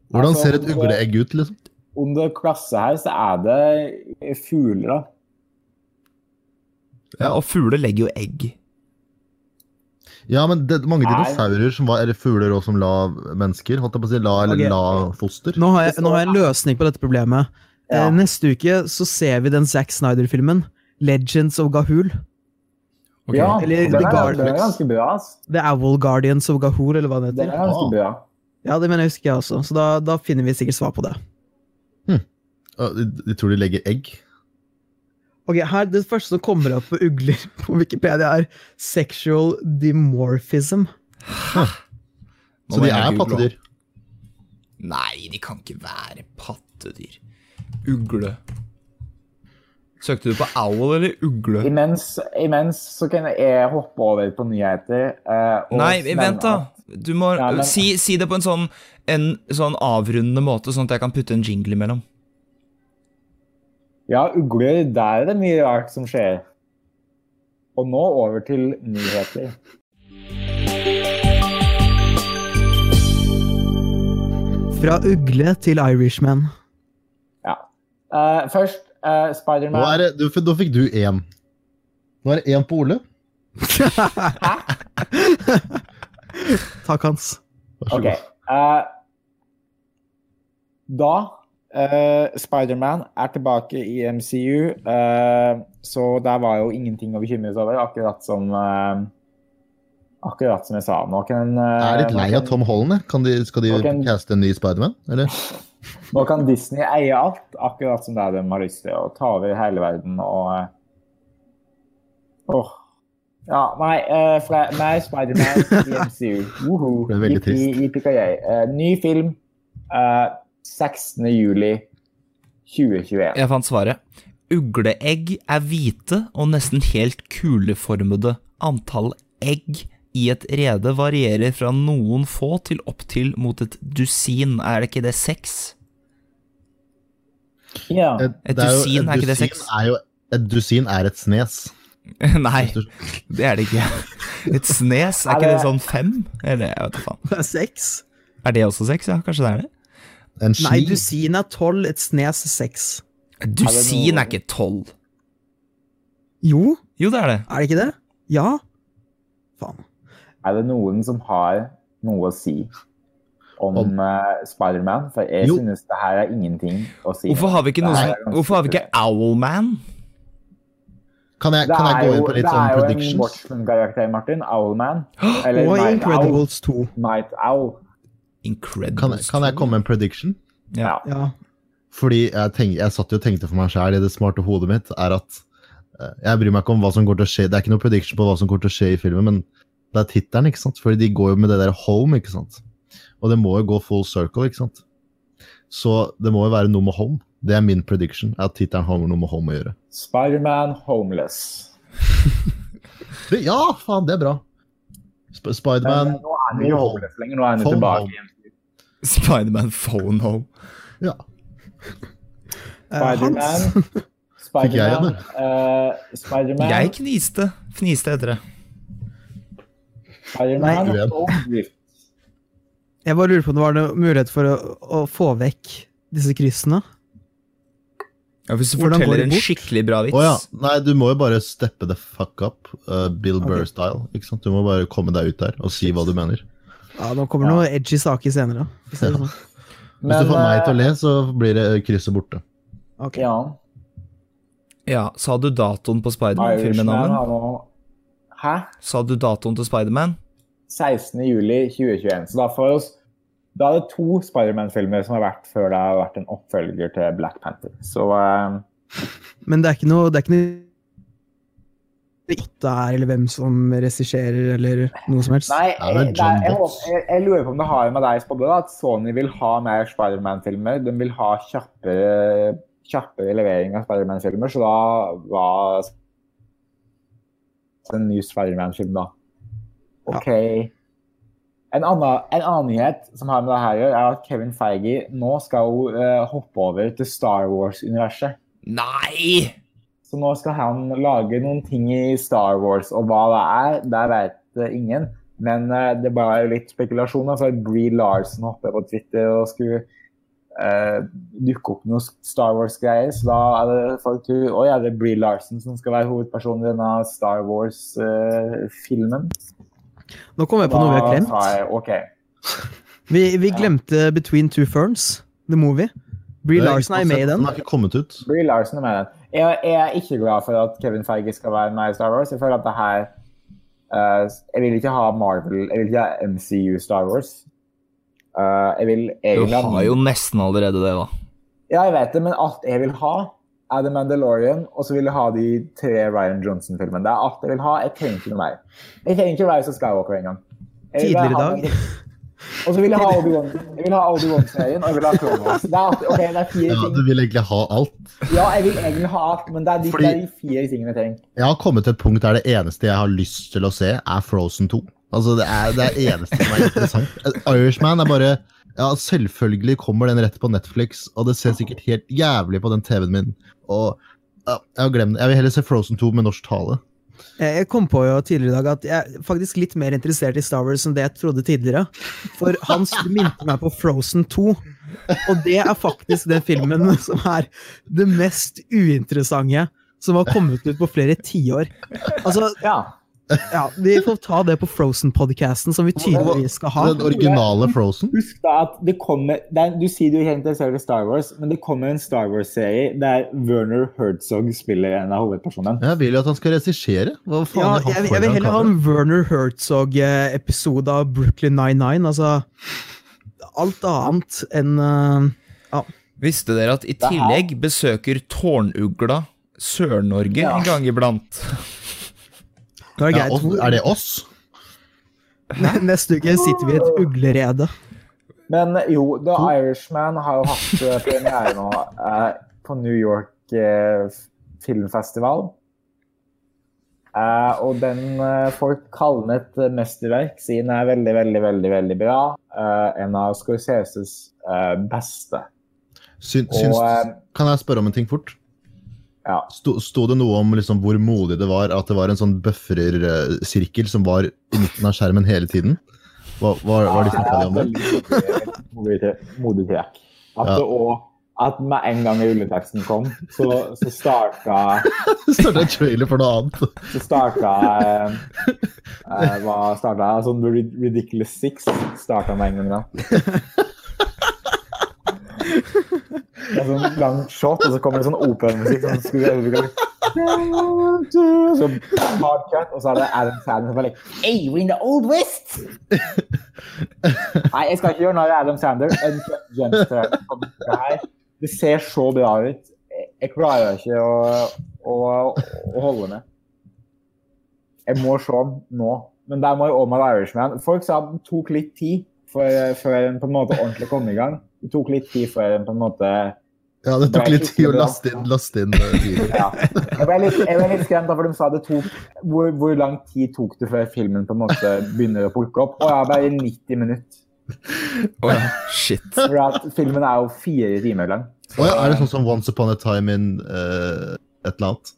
Speaker 2: Hvordan
Speaker 4: Altså,
Speaker 2: ser et
Speaker 4: det-
Speaker 2: ugleegg ut, liksom?
Speaker 4: Under klasse her så er det fugler, da.
Speaker 1: Ja, og fugler legger jo egg.
Speaker 2: Ja, men det er mange
Speaker 4: Nei.
Speaker 2: dinosaurer som var eller fugler også som la mennesker. Holdt jeg på å si la eller
Speaker 3: Ok.
Speaker 2: la foster.
Speaker 3: Nå har, jeg, nå har jeg en løsning på dette problemet.
Speaker 4: Ja.
Speaker 3: Eh, neste uke så ser vi den Zack Snyder-filmen. Legends of Gahul.
Speaker 1: Ok.
Speaker 4: Ja,
Speaker 3: Eller
Speaker 4: den
Speaker 3: The
Speaker 4: er,
Speaker 3: Guard
Speaker 4: den er
Speaker 3: Flex.
Speaker 4: ganske bra. ass.
Speaker 3: The Owl Guardians of Gahul, eller hva det
Speaker 4: Den
Speaker 3: heter.
Speaker 4: er ganske
Speaker 2: Ah.
Speaker 4: bra.
Speaker 3: Ja, det mener jeg husker jeg også, så da, da finner vi sikkert svar på det.
Speaker 2: Ja, De, de tror de legger egg.
Speaker 3: Ok, her, Det første som kommer opp på ugler på Wikipedia, er sexual demorphism.
Speaker 1: Nå
Speaker 2: Så
Speaker 1: må
Speaker 2: de
Speaker 1: jeg
Speaker 2: er
Speaker 1: google.
Speaker 2: pattedyr.
Speaker 1: Nei, de kan ikke være pattedyr. Ugle. Søkte du på owl eller ugle?
Speaker 4: Imens, imens så kan jeg hoppe over på nyheter. eh, og
Speaker 1: Nei,
Speaker 4: nevne
Speaker 1: vent, da. Du må
Speaker 4: Ja, men-
Speaker 1: si, si det på en sånn, en sånn avrundende måte, sånn at jeg kan putte en jingle imellom.
Speaker 4: Ja, ugler, der er det mye rart som skjer. Og nå over til nyheter.
Speaker 3: Fra ugle til Irishman.
Speaker 4: Eh, først uh,
Speaker 2: Nå,
Speaker 4: Spiderman.
Speaker 2: er det, du, nå fikk du én. Nå er det én på Ole.
Speaker 3: Takk, Hans.
Speaker 2: Vær så
Speaker 4: Ok. eh, da eh, Spiderman er tilbake i MCU, eh, så der var jo ingenting å bekymre seg over, akkurat som eh, Akkurat som jeg sa. Nå kan,
Speaker 2: god. Jeg er litt lei av Tom Holland. jeg. Kan de, skal de
Speaker 4: eh, Ok.
Speaker 2: caste en ny Spiderman? Eller?
Speaker 4: Nå kan Disney eie alt, akkurat som det er de har lyst til, og ta over hele verden og eh, Åh. Ja, nei, eh, fra meg, Spiderman, DMCU. Uhu.
Speaker 2: Det er veldig trist.
Speaker 4: Yippee, yippee-ki-yay. Eh, ny film eh, 16. juli 2021.
Speaker 1: Jeg fant svaret. Ugleegg er hvite og nesten helt kuleformede. Antall egg i et rede varierer fra noen få til opptil mot et dusin. Er det ikke det seks?
Speaker 4: Ja.
Speaker 2: Et,
Speaker 1: Et
Speaker 2: det jo-
Speaker 1: dusin,
Speaker 2: et
Speaker 1: er ikke det
Speaker 2: dusin
Speaker 1: seks?
Speaker 2: Er jo, et dusin er et snes.
Speaker 1: Nei, det er det ikke. Et snes, er ikke det sånn fem? Eller jeg vet ikke faen.
Speaker 3: Det er seks.
Speaker 1: Er det også seks? Ja, kanskje det er det.
Speaker 2: En
Speaker 3: Nei,
Speaker 2: ski.
Speaker 3: dusin er tolv, et snes er seks.
Speaker 1: Et Dusin er ikke tolv.
Speaker 3: Jo,
Speaker 1: Jo, det er det.
Speaker 3: er det ikke det? Ja. Faen.
Speaker 4: Er det noen som har noe å si om,
Speaker 2: Om-
Speaker 4: eh, Spiderman? For jeg
Speaker 2: Jo.
Speaker 4: synes det her er ingenting å si.
Speaker 1: Hvorfor har vi ikke, noe
Speaker 4: Det er
Speaker 1: som,
Speaker 4: ganske
Speaker 1: hvorfor har vi ikke Owlman?
Speaker 2: Kan jeg,
Speaker 4: Det
Speaker 2: kan
Speaker 4: er
Speaker 2: jeg gå inn
Speaker 4: jo,
Speaker 2: på litt
Speaker 4: det
Speaker 2: sånn
Speaker 4: er jo en
Speaker 2: predictions?
Speaker 4: Watchmen-karakter, Martin. Owlman. Eller
Speaker 3: Og i
Speaker 4: Night Owl.
Speaker 3: Incredibles 2.
Speaker 4: Night Owl.
Speaker 1: Incredible.
Speaker 2: Kan, jeg- kan jeg komme med en prediction?
Speaker 1: Ja.
Speaker 3: Ja.
Speaker 2: Fordi jeg, tenk, jeg satt jo og tenkte for meg sjæl i det smarte hodet mitt, er at eh, jeg bryr meg ikke om hva som kommer til å skje. Det er ikke noe prediction på hva som kommer til å skje i filmen, men det er tittelen, ikke sant. Fordi de går jo med det der home, ikke sant. Og det må jo gå full circle, ikke sant. Så det må jo være noe med home. Det er min prediction, at tittelen har noe med home å gjøre.
Speaker 4: Spiderman Homeless.
Speaker 2: Det- Ja, faen, det er bra. Sp
Speaker 4: Men,
Speaker 2: Spiderman
Speaker 4: nå er han ikke homeless lenger, nå er han jo
Speaker 2: Phone
Speaker 4: tilbake.
Speaker 2: home.
Speaker 4: igjen.
Speaker 1: Spiderman Phone Home.
Speaker 2: Ja.
Speaker 3: Eh, Hans.
Speaker 4: Spiderman
Speaker 2: Fikk jeg
Speaker 4: Spiderman
Speaker 2: igjen,
Speaker 4: eh, Spiderman
Speaker 1: Jeg kniste. Fniste heter det.
Speaker 4: Spiderman
Speaker 2: Nei.
Speaker 4: og Drift.
Speaker 3: Jeg bare lurer på om det var noen mulighet for å, å få vekk disse kryssene.
Speaker 1: Ja, hvis du
Speaker 3: Hvordan går
Speaker 1: forteller
Speaker 3: det
Speaker 1: en
Speaker 3: bort?
Speaker 1: skikkelig bra vits.
Speaker 2: Å ja. Nei, du må jo bare steppe the fuck up, eh, Bill
Speaker 3: Ok.
Speaker 2: Burr-style. ikke sant? Du må bare komme deg ut der og si hva du mener.
Speaker 3: Ja, Nå kommer det noen edgy saker senere. for å si det sånn.
Speaker 2: Hvis du får meg til å
Speaker 4: eh,
Speaker 2: le, så blir det krysset borte.
Speaker 3: Ok.
Speaker 4: Ja,
Speaker 1: Ja, Sa du datoen på
Speaker 4: Irishman
Speaker 1: Spiderman-filmen?
Speaker 4: har nå Hæ?
Speaker 1: Sa du datoen til Spiderman?
Speaker 4: 16. juli 2021. Så da får oss Da er det to Spiderman-filmer som har vært før det har vært en oppfølger til Black Panther. Så eh,
Speaker 3: Men det er ikke noe Det er ikke noe det ikke er, eller hvem som regisserer, eller noe som helst.
Speaker 4: Nei,
Speaker 2: Ja, det er
Speaker 4: jeg,
Speaker 2: John
Speaker 4: der, jeg,
Speaker 2: Box.
Speaker 4: håper- jeg, jeg lurer på om det har med deg spådd at Sony vil ha mer Spiderman-filmer. De vil ha kjappere, kjappere levering av Spiderman-filmer, så da var en ny Spiderman-film, da. OK. En annen, en annen nyhet som har med det her å gjøre, er at Kevin Feige nå skal eh, hoppe over til Star Wars-universet.
Speaker 1: Nei!
Speaker 4: Så nå skal han lage noen ting i Star Wars, og hva det er, der vet eh, ingen. Men eh, det bare er jo litt spekulasjoner, for Bree Larson hoppet på Twitter og skulle eh, dukke opp noe Star Wars-greier, så da er det folk tror Oi, er det Bree Larson som skal være hovedpersonen i denne Star Wars-filmen?
Speaker 3: Nå kom jeg på noe vi har
Speaker 4: da
Speaker 3: glemt.
Speaker 4: sa jeg OK.
Speaker 3: Vi, vi glemte Between Two Ferns, the movie. Bree Larsen er med i den.
Speaker 2: Den har ikke kommet ut.
Speaker 4: Bree Larson er med i den. Jeg, jeg er ikke glad for at Kevin Feige skal være med i Star Wars. Jeg føler at det her eh, Jeg vil ikke ha Marvel Jeg vil ikke ha MCU Star Wars. Eh, jeg vil
Speaker 1: Du
Speaker 4: egentlig ha
Speaker 1: har jo nesten allerede det, da.
Speaker 4: Ja, jeg vet det, men alt jeg vil ha, er The Mandalorian, og så vil jeg ha de tre Ryan Johnson-filmene. Det er alt jeg vil ha. Jeg trenger ikke noe mer. Jeg trenger ikke Rise of Skywalker engang. Jeg vil bare
Speaker 3: Tidligere i
Speaker 4: ha
Speaker 3: dag.
Speaker 4: den- Og så vil jeg ha Obi-Wan. Jeg vil ha Obi-Wan-serien, og jeg vil ha Clone Wars. Det er, alt- ok, det er fire
Speaker 2: Ja,
Speaker 4: ting.
Speaker 2: du vil egentlig ha alt.
Speaker 4: Ja, jeg vil egentlig ha alt, men det er de,
Speaker 2: Fordi-
Speaker 4: det er de fire tingene jeg trenger.
Speaker 2: Jeg har kommet til et punkt der det eneste jeg har lyst til å se, er Frozen 2. Altså, det er det er eneste som er interessant. Eh, Irishman er bare Ja, selvfølgelig kommer den rett på Netflix, og det ser sikkert helt jævlig på den TV-en min. Og ja, jeg har glemt det. Jeg vil heller se Frozen 2 med norsk tale.
Speaker 3: Eh, Jeg jeg kom på jo tidligere i dag at jeg er faktisk litt mer interessert i Star Wars enn det jeg trodde tidligere. For Hans du minte meg på Frozen 2, og det er faktisk den filmen som er det mest uinteressante som har kommet ut på flere tiår. Altså,
Speaker 4: Ja.
Speaker 3: ja, vi får ta det på Frozen-podcasten som vi tydeligvis skal ha.
Speaker 2: Den originale Frozen.
Speaker 4: Husk da at det kommer det er, Du sier du er helt interessert i Star Wars, men det kommer en Star Wars-serie der Werner Herzog spiller en av hovedpersonene.
Speaker 2: Jeg vil jo at han skal regissere. Hva faen
Speaker 3: Ja,
Speaker 2: er han
Speaker 3: jeg, jeg
Speaker 2: foran
Speaker 3: vil heller ha
Speaker 2: kamera?
Speaker 3: en Werner Herzog-episode av Brooklyn 99. Altså, alt annet enn eh,
Speaker 1: Visste dere at i
Speaker 4: er-
Speaker 1: tillegg besøker tårnugla Sør-Norge
Speaker 4: Ja.
Speaker 1: en gang iblant?
Speaker 3: Nå er det
Speaker 2: Ja,
Speaker 3: Geir
Speaker 2: oss,
Speaker 3: Thor.
Speaker 2: er det oss?
Speaker 3: Ne- Neste uke sitter vi i et uglerede.
Speaker 4: Men eh, jo, The Irishman har jo hatt eh, premiere nå eh, på New York eh, Filmfestival. Eh, og den eh, folk kaller den et eh, mesterverk, siden den er veldig, veldig, veldig veldig bra. Eh, en av Scorseses eh, beste.
Speaker 2: Syn,
Speaker 4: Og,
Speaker 2: syns,
Speaker 4: eh,
Speaker 2: kan jeg spørre om en ting fort?
Speaker 4: Ja.
Speaker 2: Sto, sto det noe om liksom hvor modig det var at det var en sånn bøffersirkel som var i midten av skjermen hele tiden? Hva, hva, hva er det snakka de om det?
Speaker 4: veldig modig, modig- modig trekk. At,
Speaker 2: Ja.
Speaker 4: det også- at med en gang rulleteksten kom, så, så starta
Speaker 2: Det starta en trailer for noe annet.
Speaker 4: Så starta eh, eh, Hva starta jeg? Sånn Rid- Ridiculous Six starta med en gang, da. Det er sånn langt shot, og så kommer det sånn operamusikk. Sånn, skulle vi så hard cut, og så er det Adam Sandler som bare like, Hey, we're in the old west! Nei, jeg skal ikke gjøre narr av Adam Sandler. Uncut Gems tror jeg kommer til Det her. Det ser så bra ut. Jeg- Jeg klarer ikke å, å, å holde med. Jeg må se den nå. Men der må jo Omar Irishman Folk sa den tok litt tid for, før den på en måte ordentlig kom i gang. Det tok litt tid før den på en måte
Speaker 2: Ja, det tok litt tid å laste inn, laste inn eh, tider.
Speaker 4: ja. Jeg ble litt, jeg ble litt skremt, da, for de sa det tok hvor, hvor lang tid tok det før filmen på en måte begynner å plukke opp? Å ja, bare 90 minutter.
Speaker 1: Å ja, shit.
Speaker 4: For at filmen er jo fire timer lang.
Speaker 2: Å ja, er det sånn som Once upon a time in eh, et eller annet?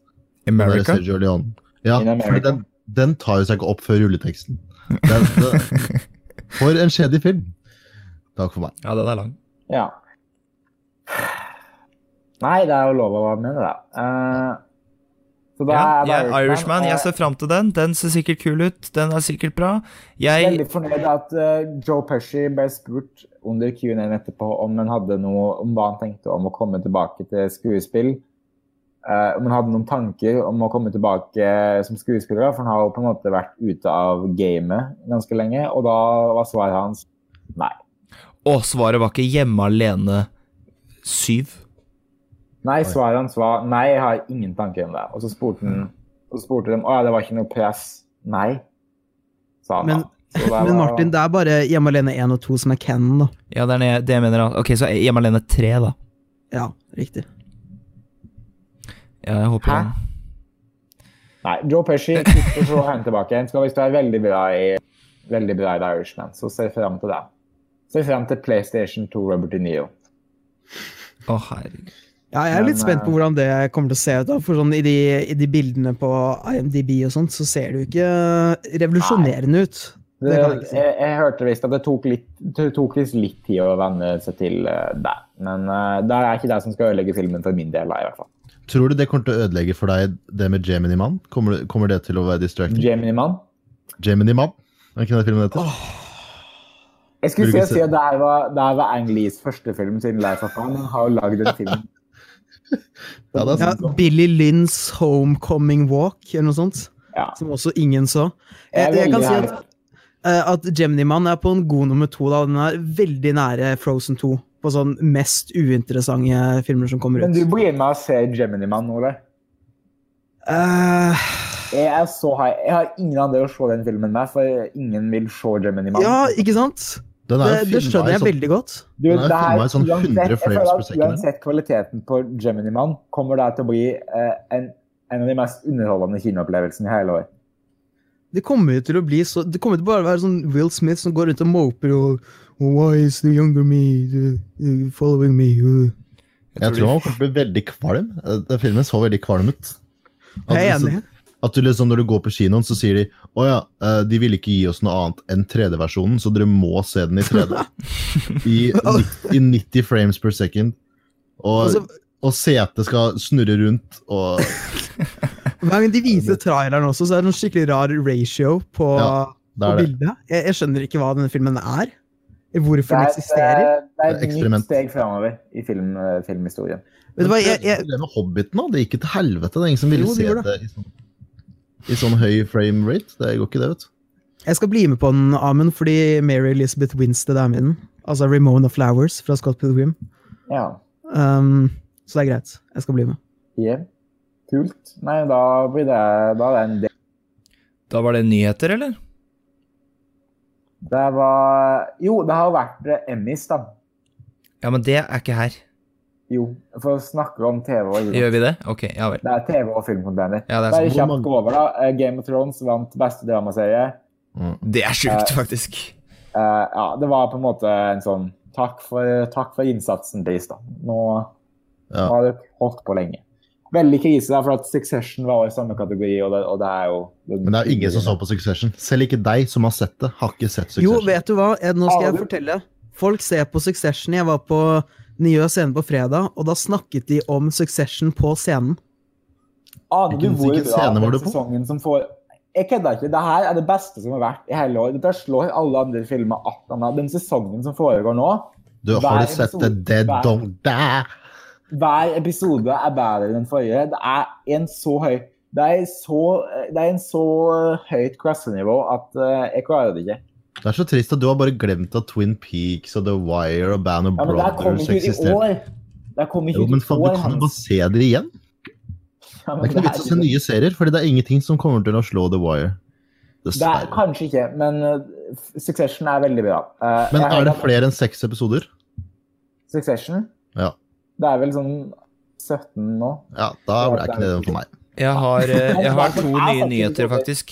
Speaker 2: Der
Speaker 1: America?
Speaker 2: Sergio Leone. Ja,
Speaker 4: In America.
Speaker 2: fordi den, den tar jo seg ikke opp før rulleteksten. Den, den, for en kjedelig film. Takk for meg.
Speaker 1: Ja, den er lang.
Speaker 4: Ja. Nei, det er jo lov å være med, det. Eh, så da
Speaker 1: Ja,
Speaker 4: er
Speaker 1: jeg er Irishman.
Speaker 4: og
Speaker 1: Jeg ser fram til den. Den ser sikkert kul ut. Den er sikkert bra. Jeg
Speaker 4: Veldig fornøyd at eh, Joe Pesci ble spurt under Q&A etterpå om han hadde noe, om hva han tenkte om å komme tilbake til skuespill. Eh, om han hadde noen tanker om å komme tilbake eh, som skuespiller, for han har jo på en måte vært ute av gamet ganske lenge. Og da var svaret hans nei.
Speaker 1: Å, svaret var ikke Hjemme alene 7.
Speaker 4: Nei,
Speaker 2: Oi.
Speaker 4: svaret hans var nei, jeg har ingen tanker om det. Og så spurte,
Speaker 3: Mm.
Speaker 4: han, så spurte de å ja, det var ikke noe press. Nei, sa han.
Speaker 3: Men-
Speaker 4: da. Så det
Speaker 3: Men
Speaker 4: var-
Speaker 3: Martin, det er bare Hjemme alene 1 og 2 som er canon, da.
Speaker 1: Ja, det er det jeg- det jeg mener. da. Ok, så Hjemme alene 3, da.
Speaker 3: Ja, riktig.
Speaker 1: Ja, jeg håper
Speaker 4: Hæ?
Speaker 1: den.
Speaker 4: Nei, Joe Pesci sitter så henne tilbake igjen. Skal visst være veldig bra i veldig bra i The Irishman, så ser frem til det. Ser frem til PlayStation 2 Robert De Niro.
Speaker 1: Å, herregud.
Speaker 3: Ja, jeg er litt
Speaker 4: Men,
Speaker 3: spent på
Speaker 4: eh,
Speaker 3: hvordan det kommer til å se ut. da, For sånn i de, i de bildene på IMDb og sånt, så ser det jo ikke revolusjonerende ut.
Speaker 4: Det,
Speaker 3: Det kan jeg
Speaker 4: jeg,
Speaker 3: ikke si.
Speaker 4: jeg, hørte visst at det tok, litt, det tok visst litt tid å venne seg til eh, det. Men eh, det er ikke det som skal ødelegge filmen for min del, da, i hvert fall.
Speaker 2: Tror du det kommer til å ødelegge for deg, det med Gemini Man? Kommer, det- kommer det til å være distracting?
Speaker 4: Gemini Man.
Speaker 2: Gemini Man? Er ikke det filmen heter?
Speaker 4: Jeg skulle
Speaker 2: Vil
Speaker 4: si
Speaker 2: du
Speaker 4: å si
Speaker 2: se-
Speaker 4: at det her var, det her var Ang Lees første film siden Life of Fun. Han har jo lagd en film.
Speaker 2: Ja, det er
Speaker 3: Ja,
Speaker 2: sant.
Speaker 3: Billy Lynns Homecoming Walk, eller noe sånt.
Speaker 4: Ja.
Speaker 3: Som også ingen så. Jeg,
Speaker 4: Jeg er
Speaker 3: jeg kan
Speaker 4: veldig
Speaker 3: si
Speaker 4: her.
Speaker 3: at, eh, at Gemini-mann er på en god nummer to. da, Den er veldig nære Frozen 2. På sånn mest uinteressante filmer som kommer
Speaker 4: Men
Speaker 3: ut.
Speaker 4: du blir med og ser Gemini Man nå, eller?
Speaker 3: Eh,
Speaker 4: Jeg er så high. Jeg har ingen andre å se den filmen med, for ingen vil se Gemini Man.
Speaker 3: ja, ikke sant?
Speaker 2: Den
Speaker 3: Det,
Speaker 2: er sånn.
Speaker 3: det skjønner jeg veldig godt.
Speaker 4: Du,
Speaker 2: Den er
Speaker 4: det her-
Speaker 2: filmet i sånn 100
Speaker 4: uansett- jeg
Speaker 2: frames
Speaker 4: føler
Speaker 2: per
Speaker 4: at
Speaker 2: second.
Speaker 4: Uansett kvaliteten på Gemini-mann kommer det her til å bli eh, en, en av de mest underholdende kinoopplevelsene i hele år.
Speaker 3: Det kommer jo til å bli så Det kommer til å bare være sånn Will Smith som går rundt og moper og oh, Why is the younger me uh, following me? Uh.
Speaker 2: Jeg tror han kommer til å bli veldig kvalm. Eh, Den filmen så veldig kvalm ut. At
Speaker 3: Jeg er
Speaker 2: liksom-
Speaker 3: enig.
Speaker 2: At du liksom, Når du går på kinoen, så sier de å ja, eh, de ville ikke gi oss noe annet enn 3D-versjonen, så dere må se den i 3D. I, nitt- i 90 frames per second. Og,
Speaker 3: Altså,
Speaker 2: og setet skal snurre rundt og
Speaker 3: hver gang de viser traileren også, så er det en skikkelig rar ratio på,
Speaker 2: Ja,
Speaker 3: på
Speaker 2: Det er det.
Speaker 3: bildet. Jeg, jeg skjønner ikke hva denne filmen er.
Speaker 4: Det
Speaker 3: Hvorfor
Speaker 4: er,
Speaker 3: den
Speaker 4: et,
Speaker 3: eksisterer.
Speaker 4: eh, det er
Speaker 2: Det er
Speaker 4: et
Speaker 2: eksperiment.
Speaker 4: nytt steg framover i film, eh, filmhistorien.
Speaker 3: Vet du hva, jeg, jeg,
Speaker 2: Det med Hobbiten, da. Det gikk jo til helvete. Det er ingen som ville
Speaker 3: Jo, det
Speaker 2: se
Speaker 3: gjorde
Speaker 2: det, i, sånn, i sånn høy frame rate. Det går ikke, det, vet du.
Speaker 3: jeg skal bli med på den, Amund, fordi Mary Elizabeth Winstead er med i den. Altså Ramona Flowers fra Scott Pilgrim.
Speaker 4: Ja.
Speaker 3: Um, så det er greit. Jeg skal bli med.
Speaker 4: Yeah. Kult. Nei, da blir det Da er det en del.
Speaker 1: Da var det nyheter, eller?
Speaker 4: Det var Jo, det har jo vært eh, Emmys, da.
Speaker 1: Ja, men det er ikke her.
Speaker 4: Jo, for å snakke om TV og
Speaker 1: Gjør vi det? Ok, ja vel.
Speaker 4: Det er TV og filmkontainer.
Speaker 1: Ja, det er
Speaker 4: Da er det
Speaker 1: sånn.
Speaker 4: kjapt gå over, da. Eh, Game of Thrones vant beste dramaserie.
Speaker 2: Mm.
Speaker 1: sånn. Det er sjukt, faktisk.
Speaker 4: Eh, ja, det var på en måte en sånn Takk for, takk for innsatsen, please, da. Nå, nå
Speaker 2: Ja.
Speaker 4: har dere holdt på lenge. Veldig krise, da, for at Succession var i samme kategori, og det, og det er jo
Speaker 2: Men det er jo ingen som så på Succession. Selv ikke deg som har sett det, har ikke sett
Speaker 3: Jo,
Speaker 2: Succession.
Speaker 3: vet du hva? Eh, Nå skal jeg
Speaker 4: Aner.
Speaker 3: fortelle. Folk ser på Succession. Jeg var på Nye Scene på fredag, og da snakket de om Succession på scenen.
Speaker 4: Aner du
Speaker 2: Hvilken-
Speaker 4: hvor
Speaker 2: hvilken
Speaker 4: bra
Speaker 2: scene var
Speaker 4: den
Speaker 2: du på?
Speaker 4: sesongen som får Jeg kødder ikke. Det her er det beste som har vært i hele år. Dette slår alle andre filmer att han har. Den sesongen som foregår nå,
Speaker 2: Du, har
Speaker 4: hver
Speaker 2: du sett det
Speaker 4: episode-
Speaker 2: Dead
Speaker 4: hver-
Speaker 2: Don't Die?
Speaker 4: hver episode er bedre enn den forrige. Det er en så høy Det er, så, det er en så høyt klassenivå at eh, jeg klarer det ikke.
Speaker 2: Det er så trist at du har bare glemt at Twin Peaks og The Wire og Band of
Speaker 4: Ja, men det her kom
Speaker 2: Brothers
Speaker 4: ikke ut i
Speaker 2: eksisterer.
Speaker 4: år. Det her kom ikke
Speaker 2: Jo,
Speaker 4: ut
Speaker 2: men
Speaker 4: i
Speaker 2: faen,
Speaker 4: år.
Speaker 2: du kan jo bare
Speaker 4: Hans.
Speaker 2: se det igjen.
Speaker 4: Ja, men
Speaker 2: Det er ikke noe vits å se nye serier, fordi det er ingenting som kommer til å slå The Wire.
Speaker 4: Det er
Speaker 2: Dessverre.
Speaker 4: kanskje ikke, men eh, Succession er veldig bra. Eh,
Speaker 2: Men
Speaker 4: jeg har
Speaker 2: er det
Speaker 4: hørt at
Speaker 2: flere enn seks episoder?
Speaker 4: Succession?
Speaker 2: Ja.
Speaker 4: Det er vel sånn 17 nå.
Speaker 2: Ja, da er ikke det den for meg.
Speaker 1: Jeg har, eh, jeg har to nye nyheter, faktisk.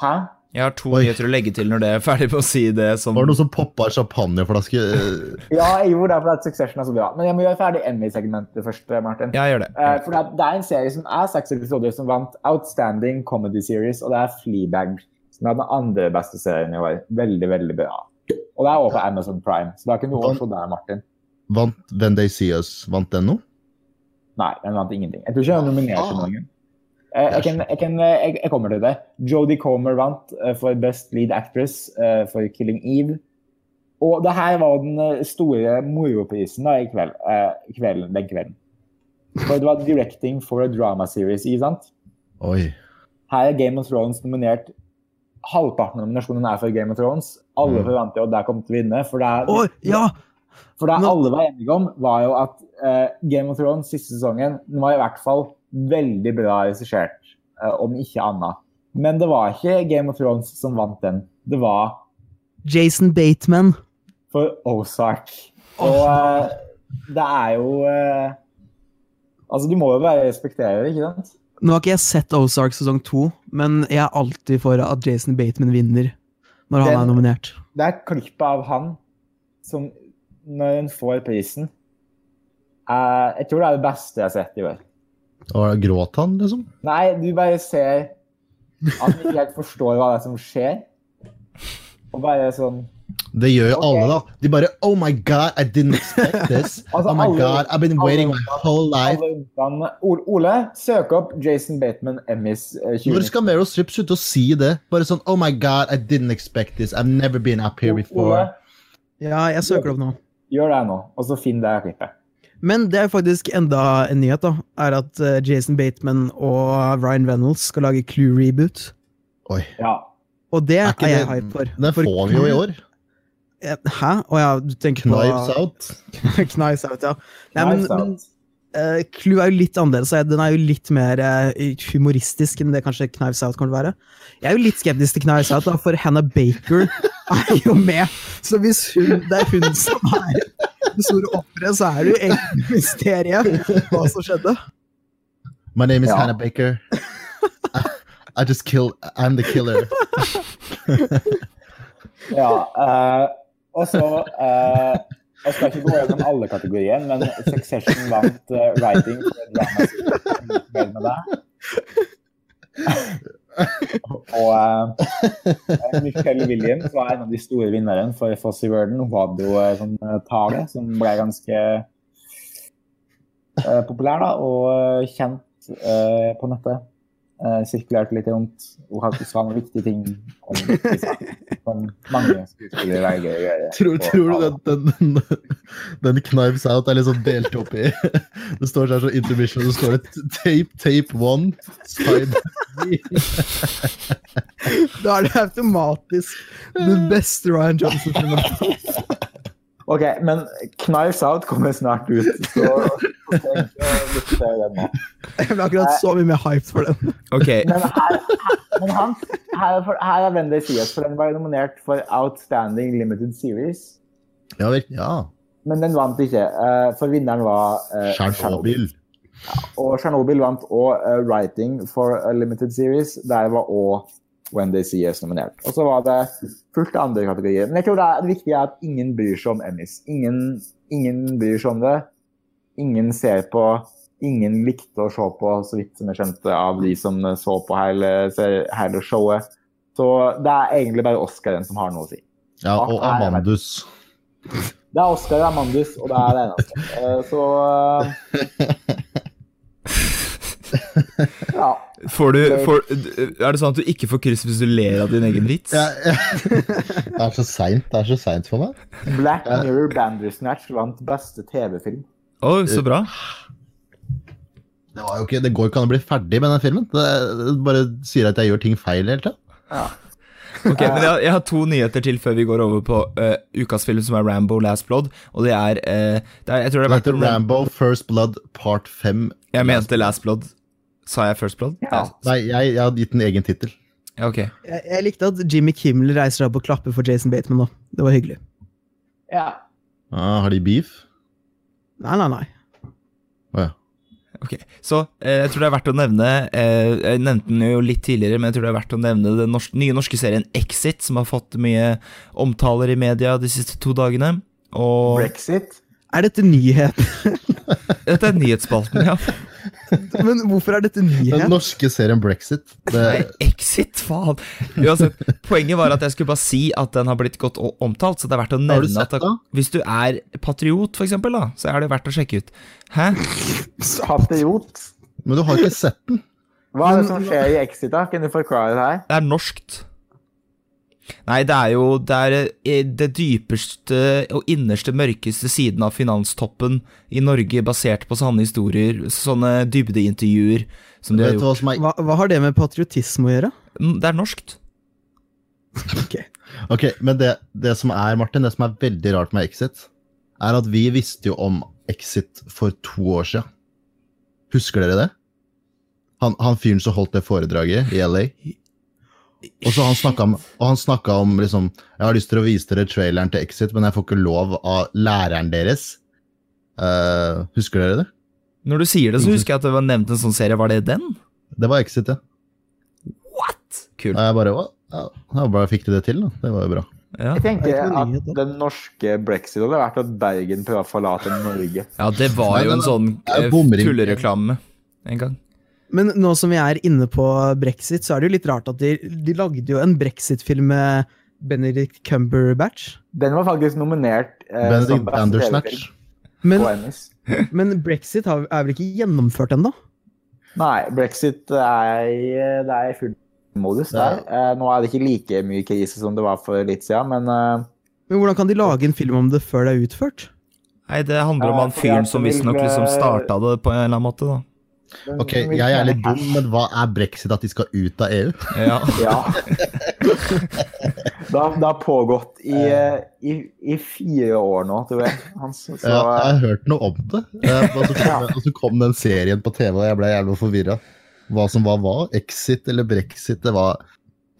Speaker 4: Hæ?
Speaker 1: Jeg har to
Speaker 2: Oi.
Speaker 1: nyheter å legge til når det er ferdig med å si det som
Speaker 2: Var det noen som poppa ei champagneflaske? eh,
Speaker 4: Ja, jeg gjorde det fordi at Succession er så bra. Men jeg må gjøre ferdig Emmy-segmentet først, eh, Martin.
Speaker 1: Ja, gjør det.
Speaker 4: Eh, for det er, det er en serie som er seks episoder som vant Outstanding Comedy Series, og det er Fleabag, som er den andre beste serien i år. Veldig, veldig bra. Og det er også på Amazon Prime, så det er ikke noe å se der, Martin.
Speaker 2: Vant When They See Us vant den noe?
Speaker 4: Nei, den vant ingenting. Jeg tror ikke den var nominert til noen. Eh, Jeg, kan, jeg, kan, eh, jeg, jeg kommer til det. Jodie Comer vant eh, for Best Lead Actress eh, for Killing Eve. Og det her var den eh, store moroprisen da, i kveld, eh, kvelden, den kvelden. For det var Directing for a Drama Series, ikke sant?
Speaker 2: Oi.
Speaker 4: Her er Game of Thrones nominert. Halvparten av nominasjonene er for Game of Thrones. Alle
Speaker 2: Mm.
Speaker 4: forventer jo at der kommer til å vinne. For det er,
Speaker 3: Å, ja!
Speaker 4: for det
Speaker 3: nå-
Speaker 4: alle var enige om, var jo at eh, Game of Thrones siste sesongen den var i hvert fall veldig bra regissert, eh, om ikke annet. Men det var ikke Game of Thrones som vant den. Det var
Speaker 3: Jason Bateman.
Speaker 4: for Ozark. Og eh, det er jo eh, Altså, du må jo bare respektere det, ikke sant?
Speaker 3: Nå har ikke jeg sett Ozark sesong to, men jeg er alltid for at Jason Bateman vinner når han
Speaker 4: Den-
Speaker 3: er nominert.
Speaker 4: Det er klippet av han som Når hun får prisen eh, Jeg tror det er det beste jeg har sett i år.
Speaker 2: Og Gråt han, liksom?
Speaker 4: Nei, du bare ser at han ikke helt forstår hva det er som skjer. Og bare sånn
Speaker 2: Det gjør jo
Speaker 4: Ok.
Speaker 2: alle, da. De bare Oh my god, I didn't expect this.
Speaker 4: Altså,
Speaker 2: oh my
Speaker 4: alle-
Speaker 2: god, I've been waiting my whole life.
Speaker 4: alle unntatt Ole- Ole, søk opp Jason Bateman Emmys eh,
Speaker 2: Når
Speaker 4: 2019.
Speaker 2: skal Meryl Streep slutte å si det? Bare sånn Oh my god, I didn't expect this. I've never been up here
Speaker 4: Ole,
Speaker 2: before.
Speaker 3: Ja, jeg søker det opp nå.
Speaker 4: gjør det nå, og så finn det klippet.
Speaker 3: Men det er jo faktisk enda en nyhet, da. Er at eh, Jason Bateman og Ryan Reynolds skal lage Clue-reboot.
Speaker 2: Oi.
Speaker 4: Ja.
Speaker 3: Og det
Speaker 2: Er
Speaker 3: er,
Speaker 2: ikke
Speaker 3: jeg
Speaker 2: det-
Speaker 3: hype for.
Speaker 2: Den
Speaker 3: for Eh,
Speaker 2: får vi jo i år.
Speaker 3: Hæ? Å ja, du tenker på
Speaker 2: Knives Out.
Speaker 3: Knives out, ja. Nei, men,
Speaker 4: Knives Out.
Speaker 3: men eh, Clue er jo litt annerledes, og jeg- den er jo litt mer eh, humoristisk enn det kanskje Knives Out kommer til å være. Jeg er jo litt skeptisk til Knives Out, da, for Hannah Baker er jo med. Så hvis hun, det er hun som er det store offeret, så er det jo egentlig mysteriet hva som skjedde.
Speaker 2: My name is
Speaker 4: Ja.
Speaker 2: Hannah Baker. I, I just kill I'm the killer.
Speaker 4: Ja, eh, og så eh, Jeg skal ikke gå gjennom alle kategorier, men Succession vant eh, writing for drama. så jeg er veldig fornøyd med det. Og eh, Michelle Williams var en av de store vinnerne for Fossey Verden. Hun hadde jo eh, sånn eh, tale som ble ganske eh, populær da, og eh, kjent eh, på nettet. Eh, sirkulerte litt rundt. Hun hadde sa noen viktige ting om disse som mange skuespillere velger å gjøre.
Speaker 2: Tror,
Speaker 4: på
Speaker 2: tror du
Speaker 4: tale.
Speaker 2: den, den, den Knives Out er liksom delt opp i Det står der så intermission, og så står det tape, tape one, side
Speaker 3: Da er det automatisk den beste Ryan Johnson-filmen.
Speaker 4: Ok, men Knives Out kommer snart ut, så tenk å lytte til den nå.
Speaker 3: Jeg ble akkurat så mye mer hyped for den.
Speaker 1: Ok,
Speaker 4: Men her, men han, her, er for, her er Wendy Sias, for den var jo nominert for Outstanding Limited Series.
Speaker 2: Ja, vel, ja.
Speaker 4: Men den vant ikke, eh, for vinneren var eh,
Speaker 2: Tsjernobyl.
Speaker 4: Og Tsjernobyl vant òg Writing for a Limited Series. Der var òg When They See Us nominert. Og så var det fullt av andre kategorier. Men jeg tror det, er, det viktige er at ingen bryr seg om Emmys. Ingen, ingen bryr seg om det. Ingen ser på. Ingen likte å se på, så vidt som jeg skjønte, av de som eh, så på hele, hele showet. Så det er egentlig bare Oscaren som har noe å si.
Speaker 2: Ja,
Speaker 1: Ah,
Speaker 2: og Amandus.
Speaker 4: Det er Oscar, det er Mandus, og det er det eneste. Eh, Så eh, Ja.
Speaker 1: får du, får, Er det sånn at du ikke får kryss hvis du ler av din egen vits?
Speaker 2: Ja, ja. Det er så seint. Det er så seint for meg.
Speaker 4: Black Mirror Bandersnatch vant beste TV-film.
Speaker 1: Å, så bra.
Speaker 2: Det, var jo ikke, det går jo ikke an å bli ferdig med den filmen. Det, det bare sier at jeg gjør ting feil hele tida.
Speaker 1: Ok, men jeg, har- jeg har to nyheter til før vi går over på eh, ukas film, som er Rambo Last Blood. Og det er, eh, det er Jeg tror det
Speaker 2: Den
Speaker 1: har vært
Speaker 2: heter Rambo First Blood Part 5.
Speaker 1: Jeg mente Last Blood. Sa jeg First Blood?
Speaker 4: Ja.
Speaker 2: Nei, jeg, jeg hadde gitt den egen tittel.
Speaker 1: Ja, ok.
Speaker 3: Jeg, jeg likte at Jimmy Kimmel reiser seg opp og klapper for Jason Bateman nå. Det var hyggelig.
Speaker 4: Ja.
Speaker 2: Ah, har de beef?
Speaker 3: Nei, nei, nei.
Speaker 2: Å ja.
Speaker 1: Ok, så eh, jeg tror det er verdt å nevne eh, Jeg nevnte den jo litt tidligere, men jeg tror det er verdt å nevne den norsk- nye norske serien Exit, som har fått mye omtaler i media de siste to dagene. Og
Speaker 4: Brexit.
Speaker 3: Er dette nyhet?
Speaker 1: dette er nyhetsspalten, ja.
Speaker 3: Men hvorfor er dette
Speaker 2: Den
Speaker 3: nyhet?
Speaker 2: norske serien Brexit. Det,
Speaker 1: Nei, Exit, faen! Uansett, poenget var at jeg skulle bare si at den har blitt godt o- omtalt, så det er verdt å
Speaker 2: har du
Speaker 1: nevne
Speaker 2: sett
Speaker 1: at det,
Speaker 2: da?
Speaker 1: hvis du er patriot, for eksempel, da, så er det verdt å sjekke ut. Hæ?
Speaker 4: Patriot.
Speaker 2: Men du har ikke sett den?
Speaker 4: Hva er det som skjer i Exit, da? Kan du forklare det her?
Speaker 1: Det er norskt. Nei, det er jo Det er eh, det dypeste og innerste, mørkeste siden av finanstoppen i Norge, basert på sanne historier, sånne dybdeintervjuer som de har
Speaker 2: Vet du
Speaker 1: gjort.
Speaker 2: hva som er
Speaker 3: Hva, hva har det med patriotisme å gjøre?
Speaker 1: Mm, Det er norskt.
Speaker 2: Ok, men det, det som er, Martin, det som er veldig rart med Exit, er at vi visste jo om Exit for to år siden. Husker dere det? Han, han fyren som holdt det foredraget i LA. Og så han snakka om, og han snakket om liksom, Jeg har lyst til å vise dere traileren til Exit, men jeg får ikke lov av læreren deres. Eh, husker dere det?
Speaker 1: Når du sier
Speaker 2: Mm-hmm.
Speaker 1: det, så husker jeg at det var nevnt en sånn serie. Var det den?
Speaker 2: Det var Exit, ja.
Speaker 1: What? Kult.
Speaker 2: Og jeg bare, «Å, ja, jeg bare fikk de det til, da. Det var jo bra.
Speaker 1: Ja.
Speaker 4: Jeg
Speaker 3: Det er
Speaker 4: tenker
Speaker 3: ikke noe nyhet,
Speaker 4: at den norske brexit hadde vært at Bergen prøver å forlate Norge.
Speaker 1: ja, det var
Speaker 2: Nei,
Speaker 1: jo
Speaker 2: nei,
Speaker 1: en
Speaker 2: nei.
Speaker 1: sånn
Speaker 2: Det er
Speaker 1: eh,
Speaker 2: bomring.
Speaker 1: tullereklame en gang.
Speaker 3: Men nå som vi er inne på brexit, så er det jo litt rart at de, de lagde jo en brexit-film med Benedict Cumberbatch.
Speaker 4: Den var faktisk nominert eh, som
Speaker 2: Benedict
Speaker 4: beste
Speaker 2: Bandersnatch.
Speaker 4: TV-film
Speaker 3: Men,
Speaker 4: på Emmys.
Speaker 3: men brexit har, er vel ikke gjennomført ennå?
Speaker 4: Nei, brexit er, i- det er i full modus der. Eh, nå er det ikke like mye krise som det var for litt siden, men eh,
Speaker 3: Men hvordan kan de lage en film om det før det er utført?
Speaker 1: Nei, det handler om
Speaker 4: Ja,
Speaker 1: han
Speaker 4: fordi at
Speaker 1: fyren som
Speaker 4: det vil
Speaker 1: visstnok
Speaker 4: bli-
Speaker 1: liksom starta det på en eller annen måte, da.
Speaker 4: den-
Speaker 2: Ok,
Speaker 4: den vil
Speaker 2: jeg er litt
Speaker 4: tjene
Speaker 2: dum, men hva er brexit at de skal ut av EU?
Speaker 1: Ja.
Speaker 4: Ja. Det har, det har pågått i, eh, i, i fire år nå, tror jeg. Han, så,
Speaker 2: Ja, jeg Eh, har hørt noe om det. Eh, Og så kom, og så kom den serien på TV, og jeg ble jævlig forvirra. Hva som var hva? Exit eller brexit? Det, var,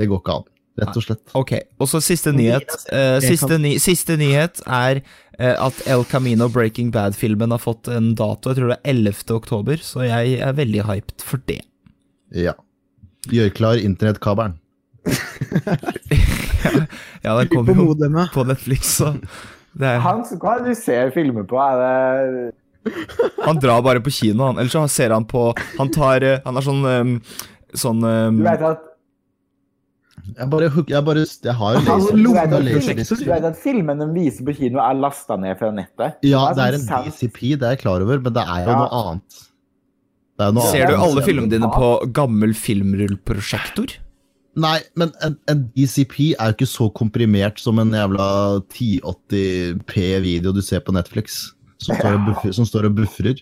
Speaker 2: det går ikke an, rett og slett.
Speaker 1: Ok, og så siste nyhet. Eh, siste, ny, siste nyhet er eh, at El Camino Breaking Bad-filmen har fått en dato. Jeg tror det er 11. oktober, så jeg er veldig hyped for det.
Speaker 2: Ja. Gjør klar internettkabelen.
Speaker 1: Ja, den
Speaker 3: På
Speaker 1: kommer jo
Speaker 3: modemet.
Speaker 1: på Netflix, så det er,
Speaker 4: Hans, eh, hva er det du ser filmer på? Er det
Speaker 1: Han drar bare på kino, han. Ellers så ser han på Han tar eh, Han har sånn eh, Sånn
Speaker 4: Du
Speaker 1: eh,
Speaker 4: vet at,
Speaker 2: Jeg bare, hook- jeg bare jeg har jo
Speaker 4: Hans,
Speaker 2: laser-
Speaker 4: du
Speaker 2: jeg
Speaker 4: vet
Speaker 2: har
Speaker 4: at,
Speaker 2: laserdisk.
Speaker 4: film- du vet at filmene de viser på kino, er lasta ned fra nettet?
Speaker 2: Ja,
Speaker 4: Det
Speaker 2: det
Speaker 4: er
Speaker 2: er en
Speaker 4: sånn sær-
Speaker 2: DCP, det er jeg klar over, men det er jo
Speaker 4: Ja.
Speaker 2: noe annet. Det er jo noe
Speaker 1: Ser du
Speaker 2: annet.
Speaker 1: alle filmene dine på gammel filmrullprosjektor?
Speaker 2: Nei, men en, en DCP er jo ikke så komprimert som en jævla 1080P-video du ser på Netflix, som står og buffer- som står og bufrer.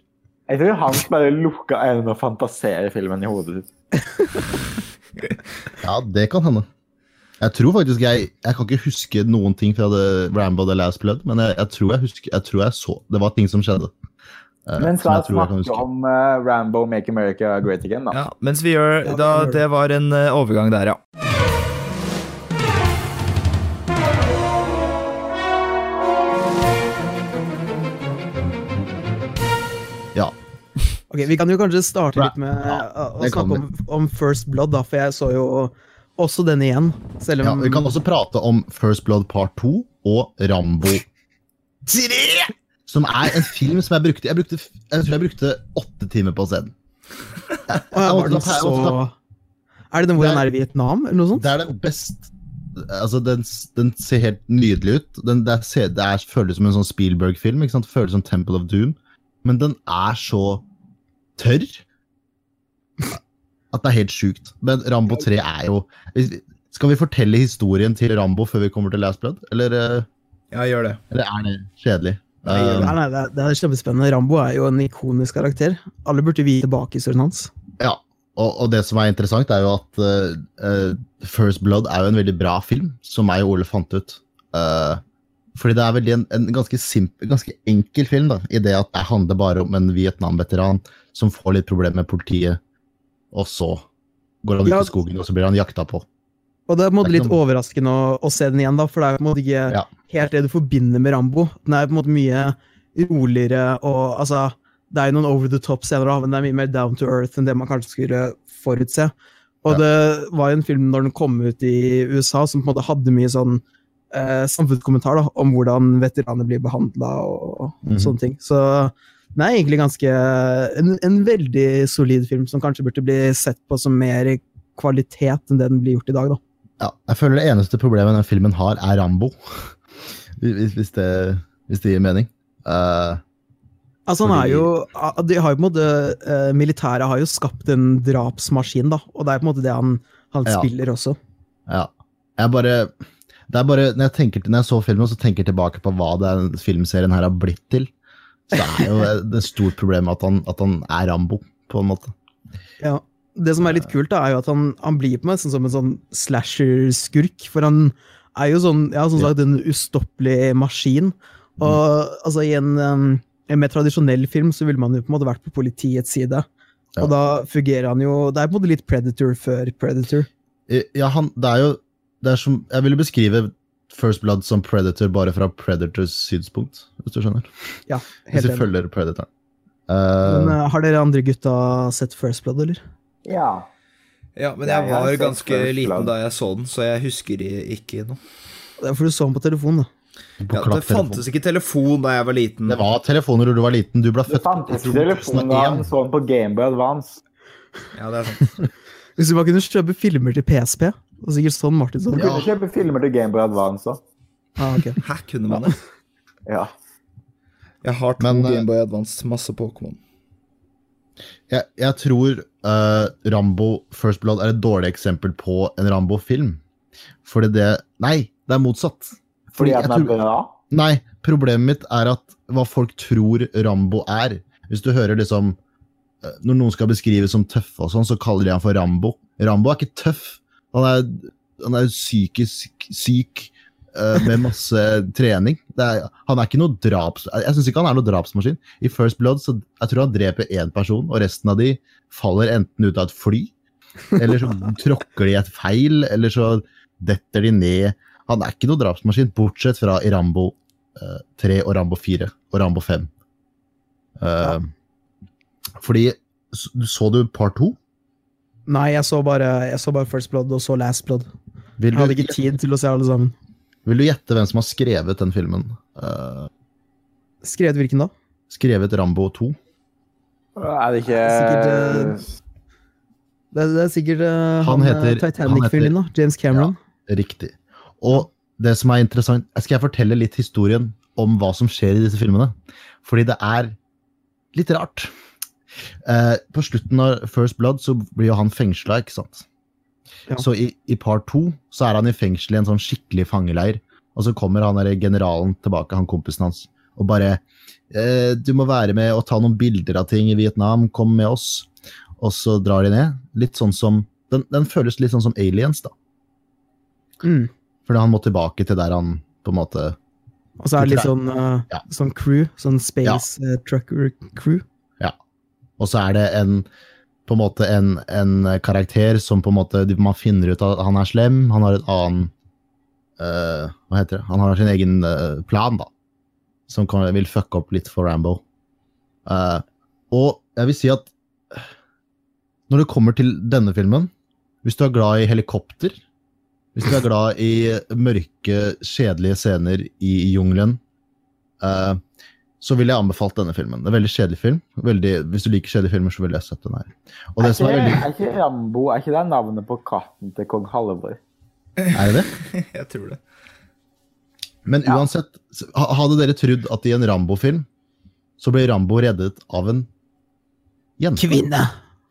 Speaker 4: Jeg tror Hans bare lukka øynene og fantaserer filmen i hodet sitt.
Speaker 2: Ja, det kan hende. Jeg tror faktisk jeg Jeg kan ikke huske noen ting fra The Rambo The Last Blood, men jeg, jeg tror jeg husker Jeg tror jeg så Det var ting som skjedde. eh, som
Speaker 4: Men skal jeg
Speaker 2: tror kan
Speaker 4: snakke
Speaker 2: huske.
Speaker 4: om eh, Rambo Make America Great Again, da.
Speaker 1: Ja, mens vi gjør
Speaker 3: Ja,
Speaker 1: da,
Speaker 3: det gjør
Speaker 1: Det var en eh, overgang der, ja.
Speaker 2: Ja.
Speaker 3: Ok, Vi kan jo kanskje starte litt med
Speaker 2: Ja,
Speaker 3: å
Speaker 2: det kan
Speaker 3: snakke om, om First Blood, da, for jeg så jo også den igjen. Selv
Speaker 2: ja.
Speaker 3: om
Speaker 2: Vi kan også prate om First Blood Part 2 og Rambo 3! Som er en film som jeg brukte Jeg, brukte, jeg tror jeg brukte åtte timer på å se den.
Speaker 3: Å, ja, var den så... Er det den hvor han er i Vietnam, eller noe sånt?
Speaker 2: Det er den best Altså, den, den ser helt nydelig ut. Den, det, er, se- det er, føles som en sånn Spielberg-film. ikke sant? Føles som Temple of Doom. Men den er så tørr at det er helt sjukt. Men Rambo 3 er jo hvis- Skal vi fortelle historien til Rambo før vi kommer til Last Blood, eller, eh,
Speaker 1: Ja, gjør det.
Speaker 2: eller er det kjedelig?
Speaker 1: Nei,
Speaker 3: Nei,
Speaker 2: Um,
Speaker 3: nei, det er, det er kjempespennende. Rambo er jo en ikonisk karakter. Alle burde vite bakhistorien hans.
Speaker 2: Ja, og, og det som er interessant er jo at eh, eh, First Blood er jo en veldig bra film, som jeg og Ole fant ut. Eh, fordi det er veldig en, en ganske, simp- ganske enkel film, da, i det at det handler bare om en Vietnam-veteran som får litt problemer med politiet, og så går han ut
Speaker 3: Ja.
Speaker 2: i skogen, og så blir han jakta på.
Speaker 3: Og det er på en måte
Speaker 2: Det er
Speaker 3: litt
Speaker 2: ikke noe-
Speaker 3: overraskende å, å se den igjen, da, for det er jo på en måte ikke
Speaker 2: Ja.
Speaker 3: helt det du forbinder med Rambo. Den er på en måte mye roligere og altså Det er jo noen over the top scener, da, men det er mye mer down to earth enn det man kanskje skulle forutse. Og
Speaker 2: Ja.
Speaker 3: det var jo en film når den kom ut i USA, som på en måte hadde mye sånn eh, samfunnskommentar da, om hvordan veteraner blir behandla og, og
Speaker 2: Mhm.
Speaker 3: sånne ting. Så den er egentlig ganske en, en veldig solid film som kanskje burde bli sett på som mer kvalitet enn det den blir gjort i dag, da.
Speaker 2: Ja, jeg føler det eneste problemet den filmen har, er Rambo. Hvis, hvis, det, hvis det gir mening. Eh,
Speaker 3: Altså, han er
Speaker 2: Fordi-
Speaker 3: jo, ah, de har jo på en måte, eh, Militæret har jo skapt en drapsmaskin, da. Og det er på en måte det han, han
Speaker 2: Ja.
Speaker 3: spiller også.
Speaker 2: Ja. Jeg bare Det er bare Når jeg, tenker, når jeg så filmen, så tenker jeg tilbake på hva den filmserien her har blitt til. Så er jo det et stort problem at han, at han er Rambo, på en måte.
Speaker 3: Ja. Det som er
Speaker 2: Eh.
Speaker 3: litt kult, da, er jo at han, han blir på meg sånn som en sånn slasher-skurk. For han er jo sånn, ja, som
Speaker 2: Ja. Mm.
Speaker 3: sagt, en ustoppelig maskin. Og altså, i en, em, en mer tradisjonell film så ville man jo på en måte vært på politiets side.
Speaker 2: Ja.
Speaker 3: Og da fungerer han jo Det er på en måte litt Predator før Predator.
Speaker 2: Ja, han Det er jo det er som, Jeg ville beskrive First Blood som Predator bare fra Predators synspunkt, hvis du skjønner.
Speaker 3: Ja,
Speaker 2: Hvis
Speaker 3: helt
Speaker 2: du
Speaker 3: enig.
Speaker 2: følger Predatoren.
Speaker 3: Men
Speaker 2: Eh,
Speaker 3: eh, har dere andre gutta sett First Blood, eller?
Speaker 4: Ja.
Speaker 1: Ja, men
Speaker 4: Ja,
Speaker 1: jeg
Speaker 4: jeg har
Speaker 1: var
Speaker 4: sett
Speaker 1: ganske
Speaker 4: First Blood.
Speaker 1: liten da jeg så den, så jeg husker i- ikke noe.
Speaker 3: Det er fordi du så ham på telefonen, da.
Speaker 2: på
Speaker 1: Ja, det
Speaker 2: klapptelefon.
Speaker 1: fantes ikke telefon da jeg var liten.
Speaker 2: det var telefoner da du var liten. Du ble
Speaker 4: Det
Speaker 2: født i
Speaker 4: fantes telefonen
Speaker 2: 2001.
Speaker 4: da han så den på Gameboy Advance.
Speaker 1: Ja, det er sant.
Speaker 3: Hvis du bare kunne kjøpe filmer til PSP, og sikkert sånn Martin sa.
Speaker 4: Du
Speaker 2: Ja.
Speaker 4: kunne kjøpe filmer til Gameboy Advance òg.
Speaker 3: Ah, ok.
Speaker 1: Hæ, kunne man det?
Speaker 4: Ja.
Speaker 1: Jeg har to
Speaker 2: Men, eh,
Speaker 1: Gameboy Advance, masse Pokémon.
Speaker 2: jeg, jeg tror eh, Rambo First Blood er et dårlig eksempel på en Rambo-film. Fordi det Nei, det er motsatt.
Speaker 4: Fordi at
Speaker 2: jeg
Speaker 4: den er
Speaker 2: tror-
Speaker 4: bra.
Speaker 2: Nei, problemet mitt er at hva folk tror Rambo er. Hvis du hører liksom eh, Når noen skal beskrives som tøffe og sånn, så kaller de han for Rambo. Rambo er ikke tøff. Han er han er jo psykisk syk eh, med masse trening. Det er, han er ikke noe draps... Jeg syns ikke han er noe drapsmaskin. I First Blood så jeg tror han dreper én person, og resten av de faller enten ut av et fly, eller så tråkker de i et feil, eller så detter de ned. Han er ikke noe drapsmaskin, bortsett fra i Rambo eh, 3 og Rambo 4 og Rambo 5. Eh, Fordi så, så du part 2?
Speaker 3: Nei, jeg så, bare, jeg så bare First Blood og så Last Blood.
Speaker 2: Vil
Speaker 3: Jeg
Speaker 2: du,
Speaker 3: hadde ikke tid til å se alle sammen.
Speaker 2: vil du gjette hvem som har skrevet den filmen? Eh,
Speaker 3: Skrevet hvilken da?
Speaker 2: skrevet Rambo 2?
Speaker 4: Er det ikke
Speaker 3: Sikkert, eh, Det, det er sikkert eh,
Speaker 2: Han
Speaker 3: han, eh,
Speaker 2: heter-
Speaker 3: Titanic-fyren din, da. James Cameron.
Speaker 2: Riktig. Og det som er interessant, skal jeg fortelle litt historien om hva som skjer i disse filmene. Fordi det er litt rart. Eh, på slutten av First Blood så blir jo han fengsla, ikke sant.
Speaker 3: Ja.
Speaker 2: Så i, i part to så er han i fengsel i en sånn skikkelig fangeleir. Og så kommer han der generalen tilbake, han kompisen hans, og bare eh, Du må være med og ta noen bilder av ting i Vietnam, kom med oss. Og så drar de ned. Litt sånn som Den, den føles litt sånn som Aliens, da.
Speaker 3: Mm.
Speaker 2: Fordi han må tilbake til der han på en måte
Speaker 3: Og så er det litt sånn, eh,
Speaker 2: Ja.
Speaker 3: sånn crew. Sånn space eh, trucker crew.
Speaker 2: Og så er det en på en måte en, en karakter som på en måte man finner ut at han er slem. Han har et annen eh, Hva heter det? Han har sin egen eh, plan, da. Som kan, vil fucke opp litt for Rambo. Eh, og jeg vil si at når det kommer til denne filmen Hvis du er glad i helikopter, hvis du er glad i mørke, kjedelige scener i jungelen eh, så ville jeg anbefalt denne filmen. Det er en veldig kjedelig film. Veldig, hvis du liker kjedelige filmer, så ville jeg sett den her. Og det
Speaker 4: er,
Speaker 2: som
Speaker 4: ikke,
Speaker 2: er veldig...
Speaker 4: er ikke Rambo Er ikke det navnet på katten til kong Halvor?
Speaker 2: Er det det?
Speaker 1: Jeg tror det.
Speaker 2: Men
Speaker 4: Ja.
Speaker 2: uansett, s- ha- hadde dere trodd at i en Rambo-film, så ble Rambo reddet av en jente?
Speaker 3: Kvinne!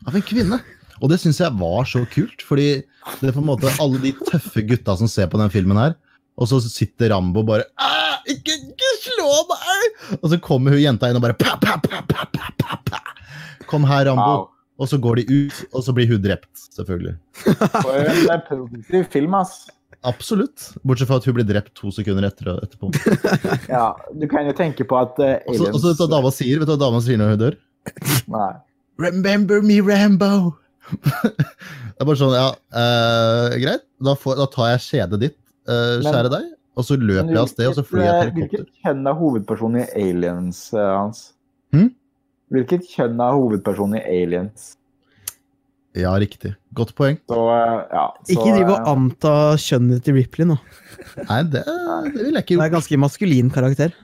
Speaker 2: Av en kvinne. Og det syns jeg var så kult, fordi det er på en måte alle de tøffe gutta som ser på den filmen her, og så sitter Rambo bare «Æ, ikke, ikke slå meg! Og så kommer hun jenta inn og bare pa, pa, pa, pa, pa, pa, pa. Kom her, Rambo.
Speaker 4: Wow.
Speaker 2: Og så går de ut, og så blir hun drept, selvfølgelig.
Speaker 4: For en produktiv film, ass.
Speaker 2: Absolutt. Bortsett fra at hun blir drept to sekunder etter, etterpå.
Speaker 4: Ja, du kan jo tenke på at eh,
Speaker 2: Og så- og så vet du hva dama sier, vet du hva dama sier når hun dør?
Speaker 4: Nei.
Speaker 2: Remember me, Rambo! det er bare sånn, ja, eh, greit. Da, får, da tar jeg kjedet ditt, eh,
Speaker 4: Men-
Speaker 2: kjære deg, og så løper jeg av sted, og så flyr jeg til helikopter.
Speaker 4: Hvilket kjønn er hovedpersonen i Aliens, eh, Hans?
Speaker 2: Hm?
Speaker 4: Hvilket kjønn er hovedpersonen i Aliens?
Speaker 2: Ja, riktig. Godt poeng.
Speaker 4: Så, eh, ja, så,
Speaker 3: Ikke driv og
Speaker 4: eh,
Speaker 3: anta kjønnet til Ripley nå.
Speaker 2: Nei, det, det vil jeg ikke
Speaker 3: Hun
Speaker 2: gjort.
Speaker 3: er en ganske maskulin karakter.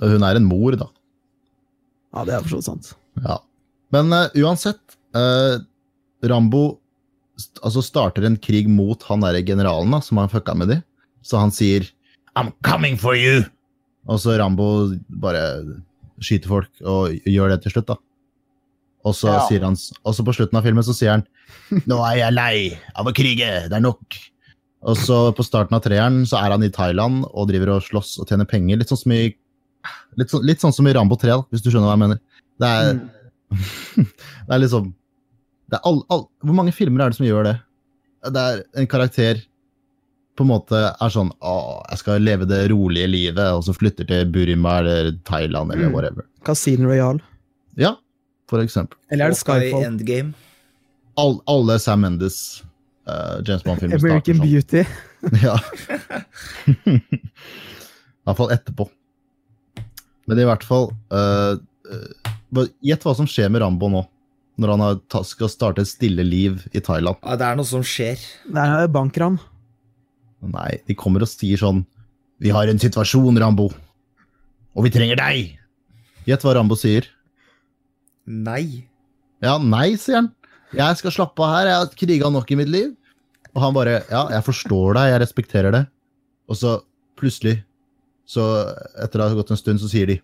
Speaker 2: Hun er en mor, da.
Speaker 3: Ja, det er for så vidt sant.
Speaker 2: Ja. Men eh, uansett, eh, Rambo st altså starter en krig mot han der generalen da, som han fucka med de. Så han sier I'm coming for you! Og så Rambo bare skyter folk og gjør det til slutt, da. Og så,
Speaker 4: Ja.
Speaker 2: sier han, s- og så på slutten av filmen så sier han Nå er jeg lei av å krige, det er nok. Og så på starten av treeren så er han i Thailand og driver og slåss og tjener penger. Litt sånn som i, litt sånn, litt sånn som i Rambo 3, da, hvis du skjønner hva jeg mener. Det er, det er liksom det er all, all, Hvor mange filmer er det som gjør det? Det er en karakter på en måte er sånn Å, jeg skal leve det rolige livet, og så flytter til Burima eller Thailand eller
Speaker 3: Mm.
Speaker 2: whatever.
Speaker 3: Casino Royale.
Speaker 2: Ja, for eksempel.
Speaker 3: Eller er det
Speaker 1: Hawkeye
Speaker 3: Skyfall?
Speaker 1: Endgame.
Speaker 2: All, alle Sam Mendes eh, James Bond-filmer starter
Speaker 3: American
Speaker 2: sånn.
Speaker 3: Beauty.
Speaker 2: Ja. I hvert fall etterpå. Men i hvert fall eh, eh, bare Gjett hva som skjer med Rambo nå, når han har, ta- skal starte et stille liv i Thailand.
Speaker 1: Ja, det er noe som skjer.
Speaker 3: Det er bankran.
Speaker 2: Nei, de kommer og sier sånn Vi har en situasjon, Rambo. Og vi trenger deg! Gjett hva Rambo sier.
Speaker 1: Nei.
Speaker 2: Ja, nei, sier han. Jeg skal slappe av her, jeg har kriga nok i mitt liv. Og han bare Ja, jeg forstår deg, jeg respekterer det. Og så plutselig, så etter det har gått en stund, så sier de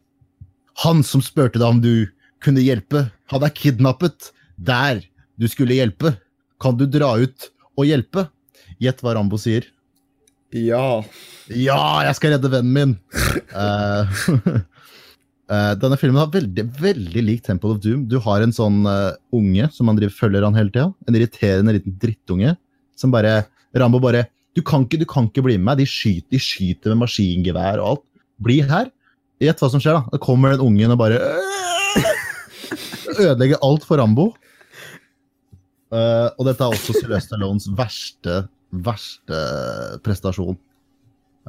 Speaker 2: Han som spurte deg om du kunne hjelpe, han er kidnappet. Der du skulle hjelpe. Kan du dra ut og hjelpe? Gjett hva Rambo sier.
Speaker 1: Ja.
Speaker 2: Ja, jeg skal redde vennen min! Eh, eh, denne filmen har veldig veldig lik Temple of Doom. Du har en sånn eh, unge som han driver, følger han hele tida. En irriterende liten drittunge som bare Rambo bare Du kan ikke, du kan ikke bli med meg. De skyter, de skyter med maskingevær og alt. Bli her. Gjett hva som skjer, da. Da kommer den ungen og bare Ødelegger alt for Rambo. Eh, og dette er også Sylvester Lones verste, verste prestasjon.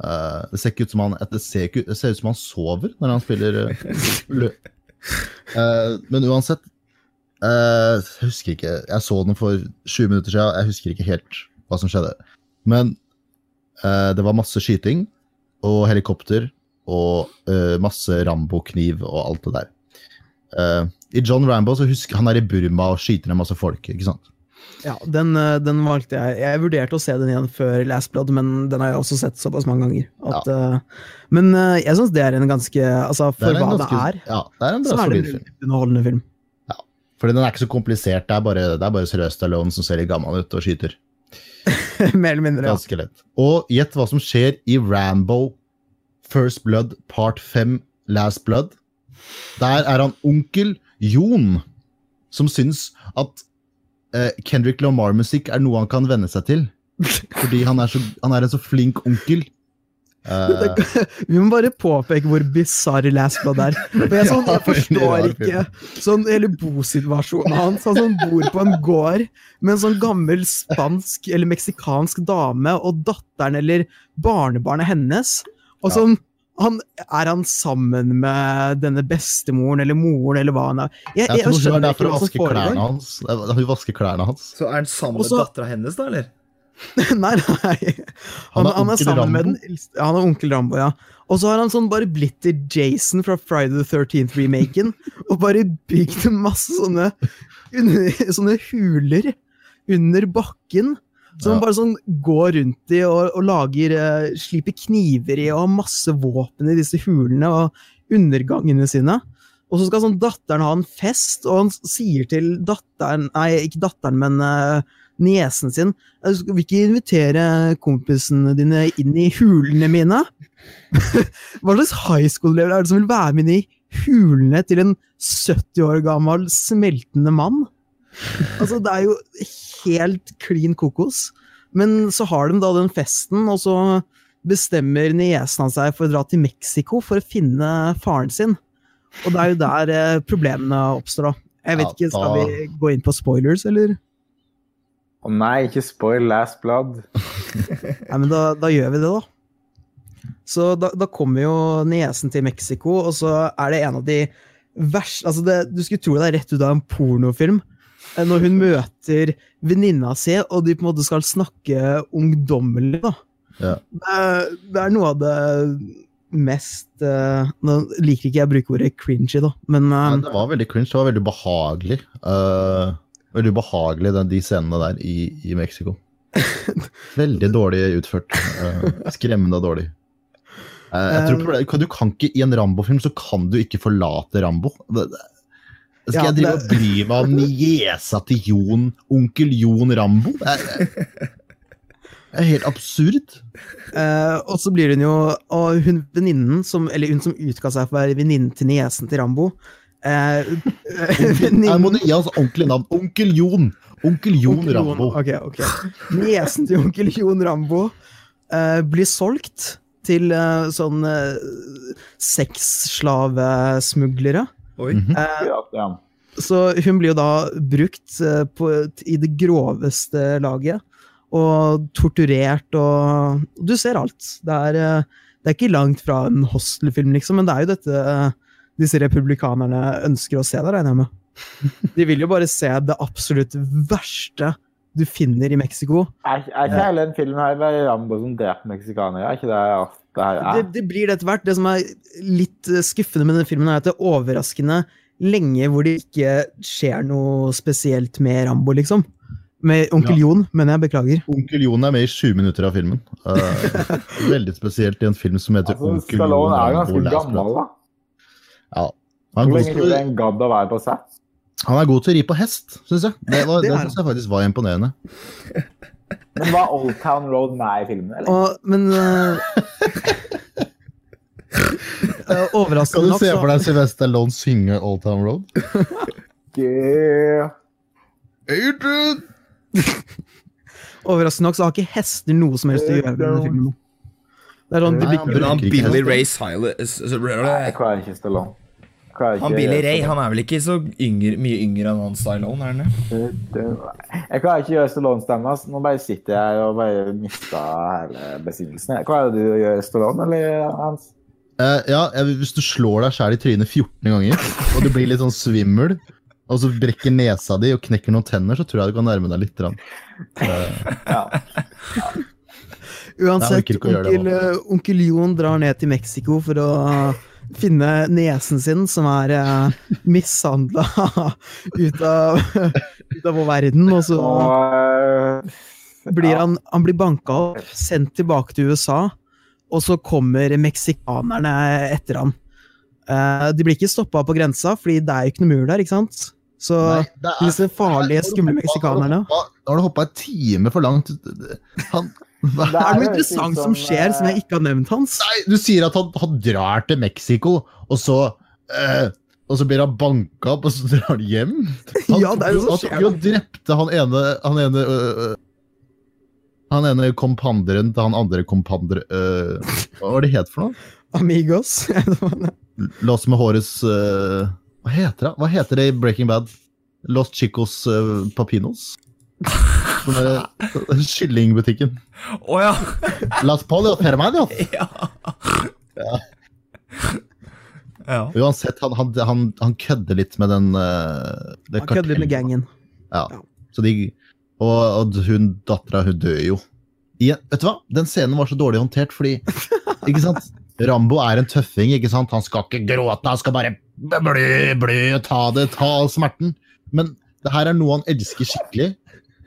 Speaker 2: Eh, det ser ikke ut som han Det ser, ikke, det ser ut som han sover når han spiller eh, lø- Eh, Men uansett eh, Jeg husker ikke Jeg så den for 20 minutter siden. Jeg husker ikke helt hva som skjedde. Men eh, det var masse skyting og helikopter og eh, masse Rambo-kniv og alt det der. Eh, I John Rambo så husker han er i Burma og skyter ned masse folk. ikke sant?
Speaker 3: Ja, den, eh, den valgte jeg. Jeg vurderte å se den igjen før Last Blood, men den har jeg også sett såpass mange ganger. At, eh, men eh, jeg syns det er en ganske Altså,
Speaker 2: Det
Speaker 3: for
Speaker 2: er en
Speaker 3: hva
Speaker 2: ganske-
Speaker 3: det er,
Speaker 2: Ja, det er en
Speaker 3: så
Speaker 2: bra
Speaker 3: er det
Speaker 2: solid
Speaker 3: en
Speaker 2: film.
Speaker 3: underholdende film.
Speaker 2: Fordi den er ikke så komplisert. Det er bare, det er bare Sylvester Stallone som ser litt gammel ut og skyter.
Speaker 3: Mer eller mindre. Ja.
Speaker 2: Ganske lett. Og gjett hva som skjer i Rambo First Blood Part 5 Last Blood. Der er han onkel Jon, som syns at eh, Kendrick Lamar-musikk er noe han kan venne seg til. Fordi han er, så, han er en så flink onkel. Eh,
Speaker 3: Vi må bare påpeke hvor bisarr Last Blood er. For jeg, sånn, jeg
Speaker 2: Ja, veldig rar
Speaker 3: forstår ikke sånn hele bosituasjonen hans. Han som bor på en gård med en sånn gammel spansk eller meksikansk dame og datteren eller barnebarnet hennes. Og sånn, han, er han sammen med denne bestemoren eller moren eller hva han er? Jeg, jeg,
Speaker 2: jeg tror det var
Speaker 3: skjønner
Speaker 2: derfor hun vasker
Speaker 3: ikke hva som
Speaker 2: klærne
Speaker 3: foregår.
Speaker 2: hans. Eh, Hun vasker klærne hans.
Speaker 1: Så er han sammen med
Speaker 3: Også-
Speaker 1: dattera hennes, da, eller?
Speaker 3: Nei, nei.
Speaker 2: Han er
Speaker 3: Han, han er
Speaker 2: onkel
Speaker 3: sammen med
Speaker 2: Rambo.
Speaker 3: den eldste Han er onkel Rambo, ja. Og så har han sånn bare blitt til Jason fra Friday the 13th-remaken. og bare bygd masse sånne, under, sånne huler under bakken.
Speaker 2: Ja.
Speaker 3: Som han bare sånn går rundt i og, og lager eh, Sliper kniver i og har masse våpen i disse hulene og undergangene sine. Og så skal sånn datteren ha en fest, og han s- sier til datteren Nei, ikke datteren, men eh, niesen sin «Jeg Skal vi ikke invitere kompisene dine inn i hulene mine? Hva slags high school-elever er det som vil være med inn i hulene til en 70 år gammel smeltende mann? Altså, det er jo helt klin kokos. Men så har de da den festen, og så bestemmer niesen hans seg for å dra til Mexico for å finne faren sin. Og det er jo der eh, problemene oppstår, da. Jeg vet
Speaker 2: Ja,
Speaker 3: ikke, skal
Speaker 2: da-
Speaker 3: vi gå inn på spoilers, eller?
Speaker 4: Å nei, ikke spoil Last Blood.
Speaker 3: Nei, men da, da gjør vi det, da. Så da, da kommer jo niesen til Mexico, og så er det en av de verste altså det, Du skulle tro det er rett ut av en pornofilm. eh, Når hun møter venninna si, og de på en måte skal snakke ungdommelig, da.
Speaker 2: Ja.
Speaker 3: Det, er, det er noe av det mest eh, Nå liker ikke jeg å bruke ordet cringy, da, men eh,
Speaker 2: Nei, det var veldig cringe. Det var veldig behagelig. Eh, veldig behagelig, den, de scenene der i, i Mexico. Veldig dårlig utført. eh, skremmende dårlig. Eh, jeg tror problemet, du kan ikke, I en Rambo-film så kan du ikke forlate Rambo. Det, det, skal
Speaker 3: Ja,
Speaker 2: jeg drive og bry meg om niesa til Jon, onkel Jon Rambo? Det er, det er helt absurd.
Speaker 3: Eh, og så blir hun jo Og hun venninnen som Eller hun som utga seg for å være venninnen til niesen til Rambo eh, venninnen-
Speaker 2: Jeg må gi hans ordentlige navn. Onkel Jon! Onkel Jon
Speaker 3: Onkel
Speaker 2: Rambo.
Speaker 3: Ok, ok. Niesen til onkel Jon Rambo eh, blir solgt til eh, sånn uh, sexslavesmuglere.
Speaker 1: Oi.
Speaker 2: Mhm.
Speaker 3: Eh,
Speaker 4: Ja, ja.
Speaker 3: så hun blir jo da brukt eh, på, i det groveste laget. Og torturert og Du ser alt. Det er, eh, det er ikke langt fra en hostelfilm, liksom, men det er jo dette eh, disse republikanerne ønsker å se, da, regner jeg med. De vil jo bare se det absolutt verste du finner i Mexico.
Speaker 4: Er, er ikke hele den filmen her det er Rambo som dreper meksikanere? Er ikke det alt det her
Speaker 3: Det,
Speaker 4: er?
Speaker 3: det blir det etter hvert. Det som er litt eh, skuffende med denne filmen, er at det er overraskende lenge hvor det ikke skjer noe spesielt med Rambo, liksom. Med onkel
Speaker 2: Ja.
Speaker 3: Jon, men jeg beklager.
Speaker 2: Onkel Jon er med i sju minutter av filmen. Eh, veldig spesielt i en film som heter
Speaker 4: Altså,
Speaker 2: Onkel Jon.
Speaker 4: Stallone er jo
Speaker 2: Rambo
Speaker 4: ganske
Speaker 2: Last
Speaker 4: gammel,
Speaker 2: Blood.
Speaker 4: da.
Speaker 2: Ja. Han, er
Speaker 4: Hvor lenge
Speaker 2: god til,
Speaker 4: skulle en gadd å være på set?
Speaker 2: han er god til å ri på hest, syns jeg. Det, var, det,
Speaker 3: Det er han.
Speaker 2: synes jeg faktisk var imponerende.
Speaker 4: Men var Old Town Road med i filmen, eller?
Speaker 3: Og, men eh, eh,
Speaker 2: Skal
Speaker 3: Overraskende
Speaker 2: du
Speaker 3: nok,
Speaker 2: se for
Speaker 3: så
Speaker 2: deg Sylvester Stallone synge Old Town Road?
Speaker 4: Yeah.
Speaker 2: Adrian!
Speaker 3: Overraskende nok så har ikke hester noe som helst å gjøre med denne filmen. Det er sånn, de
Speaker 2: Nei, han
Speaker 3: bytter,
Speaker 1: Men han
Speaker 2: bruker ikke
Speaker 1: Billy
Speaker 2: hester.
Speaker 1: Ray Silas
Speaker 4: Nei, jeg klarer ikke Stallone. Jeg klarer
Speaker 1: Han
Speaker 4: ikke-
Speaker 1: Billy Ray han er vel ikke så yngre, mye yngre enn han Stylone, er han det?
Speaker 4: Jeg klarer ikke å gjøre Stallone-stemmen. ass. Nå bare sitter jeg og bare mista hele besinnelsen. Klarer du å gjøre Stallone, eller Hans?
Speaker 2: Eh, ja, jeg, Hvis du slår deg sjæl i trynet 14 ganger, og du blir litt sånn svimmel, og så brekker nesa di og knekker noen tenner, så tror jeg du kan nærme deg litt. grann.
Speaker 4: Ja.
Speaker 2: Nei, han
Speaker 3: uansett,
Speaker 2: orker ikke å gjøre det,
Speaker 3: onkel, eh, onkel Jon drar ned til Mexico for å eh, finne nesen sin, som er eh, mishandla ut, av- ut av vår verden. Og så
Speaker 4: Og, eh,
Speaker 3: blir han, han blir banka opp, sendt tilbake til USA, og så kommer meksikanerne etter han. Eh, de blir ikke stoppa på grensa, fordi det er jo ikke noe mur der, ikke sant? Så
Speaker 2: Nei, det er-
Speaker 3: disse farlige,
Speaker 2: Nå har du
Speaker 3: skumle
Speaker 2: hoppet-
Speaker 3: meksikanerne
Speaker 2: Nå har du hoppa en time for langt. ut. Han,
Speaker 4: Ja.
Speaker 3: Det er noe
Speaker 4: jo litt
Speaker 3: interessant som
Speaker 4: eh,
Speaker 3: skjer som jeg ikke har nevnt, Hans.
Speaker 2: nei, du sier at han, han drar til Mexico, og så eh, Og så blir han banka opp, og så drar han hjem? Han,
Speaker 3: Ja, det er jo så
Speaker 2: han tok jo og drepte han ene Han ene, øh, øh, han ene kompanderen til han andre kompander... øh, hva var det het for noe?
Speaker 3: Amigos.
Speaker 2: Lost med hårets øh, Hva heter det? Hva heter det i Breaking Bad? Los Chicos øh, Papinos? Den der kyllingbutikken.
Speaker 1: Å ja!
Speaker 2: Las Polios Hermanos!
Speaker 1: ja. ja.
Speaker 2: Uansett, han, han, han, han kødder litt med den eh, det
Speaker 3: Han kødder litt
Speaker 2: kartellet.
Speaker 3: med gangen.
Speaker 2: Ja. Så de, og, og hun dattera, hun dør jo. I, vet du hva? Den scenen var så dårlig håndtert, fordi ikke sant? Rambo er en tøffing. ikke sant? Han skal ikke gråte, han skal bare blø, blø, ta det, ta all smerten. Men det her er noe han elsker skikkelig.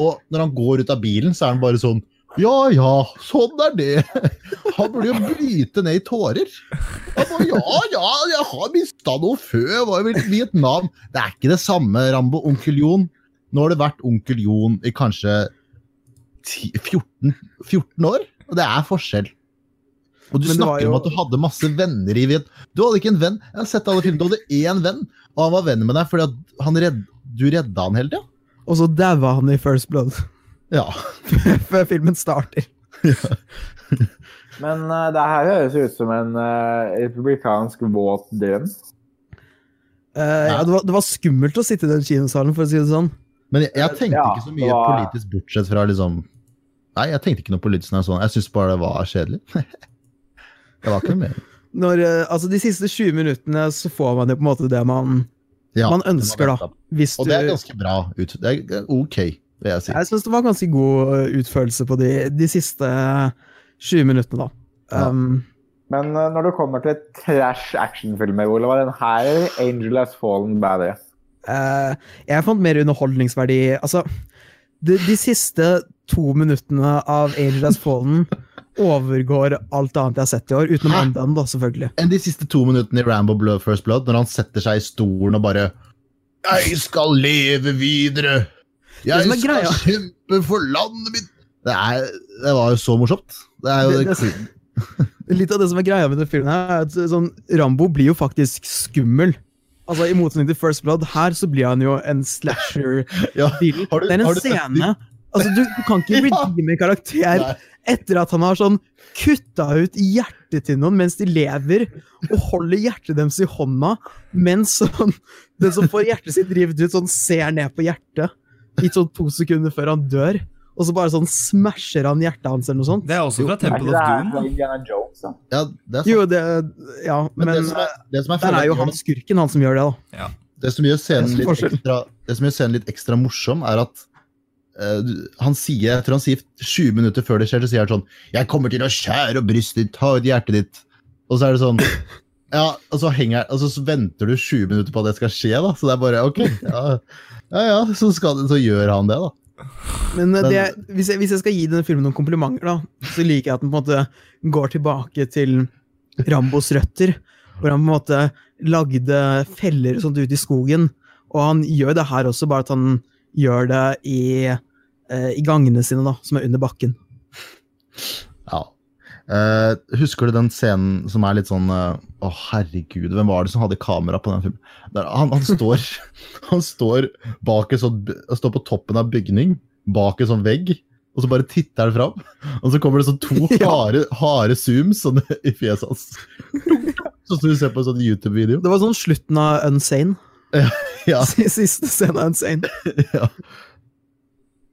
Speaker 2: Og når han går ut av bilen, så er han bare sånn Ja ja, sånn er det. Han burde jo bryte ned i tårer. Han bare, ja ja, jeg har mista noe før, jeg var jo i Vietnam. Det er ikke det samme, Rambo. Onkel Jon. Nå har det vært onkel Jon i kanskje 10, 14, 14 år, og det er forskjell. Og du
Speaker 3: Men det var
Speaker 2: snakker om
Speaker 3: jo-
Speaker 2: at du hadde masse venner i Viet... Du hadde ikke en venn. Jeg har sett alle filmene. Du hadde én venn, og han var venn med deg fordi at han redd, du redda han hele tida.
Speaker 3: Og så daua han i First Blood
Speaker 2: Ja.
Speaker 3: før filmen starter.
Speaker 4: Men eh, det her høres ut som en eh, republikansk våt drøm.
Speaker 3: Eh, ja, det, var, det var skummelt å sitte i den kinosalen, for å si det sånn.
Speaker 2: Men jeg, jeg tenkte
Speaker 4: Eh, Ja,
Speaker 2: ikke så
Speaker 4: det
Speaker 2: mye
Speaker 4: var-
Speaker 2: politisk, bortsett fra liksom Nei, jeg tenkte ikke noe politisk. når jeg så den. Jeg syns bare det var kjedelig. det var ikke noe mer.
Speaker 3: Når, eh, altså, de siste 20 minuttene så får man jo på en måte det man,
Speaker 2: Ja,
Speaker 3: man
Speaker 2: det var
Speaker 3: ønsker, da.
Speaker 2: nettopp.
Speaker 3: Hvis
Speaker 2: Og
Speaker 3: du,
Speaker 2: det er ganske bra ut. Det er- det er ok, vil jeg si.
Speaker 3: jeg syns det var ganske god eh, utførelse på de, de siste 20 minuttene, da.
Speaker 2: Ja.
Speaker 3: Um,
Speaker 4: Men eh, når det kommer til trash actionfilmer, Ole, var den her eller Angel Has Fallen bedre?
Speaker 3: Eh, jeg fant mer underholdningsverdi Altså, de, de siste to minuttene av Angel Has Fallen overgår alt annet jeg har sett i år, utenom
Speaker 2: Hæ?
Speaker 3: Andan, da, selvfølgelig.
Speaker 2: enn de siste to minuttene i Rambo Blood First Blood, når han setter seg i stolen og bare Jeg skal leve videre! Jeg
Speaker 3: som er
Speaker 2: skal
Speaker 3: greia-
Speaker 2: kjempe for landet mitt! Det, er, det var jo så morsomt. Det er jo
Speaker 3: Det-
Speaker 2: det,
Speaker 3: det- Litt av det som er greia med denne filmen, her, er at sånn, Rambo blir jo faktisk skummel. Altså, I motsetning til First Blood, her så blir han jo en slasher.
Speaker 2: ja.
Speaker 3: villain.
Speaker 2: Har du-
Speaker 3: Det er
Speaker 2: har du
Speaker 3: en
Speaker 2: sett
Speaker 3: scene Altså, du, du kan ikke
Speaker 2: Ja.
Speaker 3: redeeme en karakter
Speaker 2: Nei.
Speaker 3: etter at han har sånn kutta ut hjertet til noen mens de lever, og holder hjertet deres i hånda, mens sånn, den som får hjertet sitt revet ut, sånn ser ned på hjertet i sånn to sekunder før han dør, og så bare sånn smasher han hjertet hans eller noe sånt.
Speaker 1: Det er også fra
Speaker 4: Er
Speaker 1: Temple
Speaker 4: ikke det
Speaker 1: of
Speaker 4: her
Speaker 1: Doom.
Speaker 4: fra Indiana Jones, da?
Speaker 2: ja, det er sant.
Speaker 3: Jo, det Ja,
Speaker 2: Men,
Speaker 3: men,
Speaker 2: det som er, det som er,
Speaker 3: der
Speaker 2: følelsen
Speaker 3: er jo
Speaker 2: gjør
Speaker 3: han
Speaker 2: den-
Speaker 3: skurken, han som gjør det, da.
Speaker 2: det som gjør
Speaker 3: Det
Speaker 2: scenen
Speaker 3: er
Speaker 2: litt
Speaker 3: forskjell.
Speaker 2: ekstra, det som gjør scenen litt ekstra morsom, er at eh, du- han sier, jeg tror han sier 20 minutter før det skjer, så sier han sånn 'Jeg kommer til å skjære opp brystet ditt, ta ut hjertet ditt'. Og så er det sånn Ja, og så henger Og så så venter du 20 minutter på at det skal skje, da. Så det er bare OK. Ja ja, ja så, skal, det- så gjør han det, da.
Speaker 3: Men, eh,
Speaker 2: Men-
Speaker 3: det, hvis, jeg, hvis jeg skal gi denne filmen noen komplimenter, da, så liker jeg at den på en måte går tilbake til Rambos røtter, hvor han på en måte lagde feller og sånt ute i skogen. Og han gjør det her også, bare at han gjør det i, eh, i gangene sine, da, som er under bakken.
Speaker 2: Ja. Eh, husker du den scenen som er litt sånn eh, Å, herregud, hvem var det som hadde kamera på den filmen? Der, han, han, står, han står bak en sånn by- Han står på toppen av bygning, bak en sånn vegg, og og så bare titter han fram. Og så kommer det sånn to
Speaker 3: Ja.
Speaker 2: harde, harde zooms sånn, i fjeset hans. Sånn som du ser på en sånn YouTube-video.
Speaker 3: Det var sånn slutten av Unsane.
Speaker 2: Ja,
Speaker 3: Siste scenen av Unsane.
Speaker 2: ja.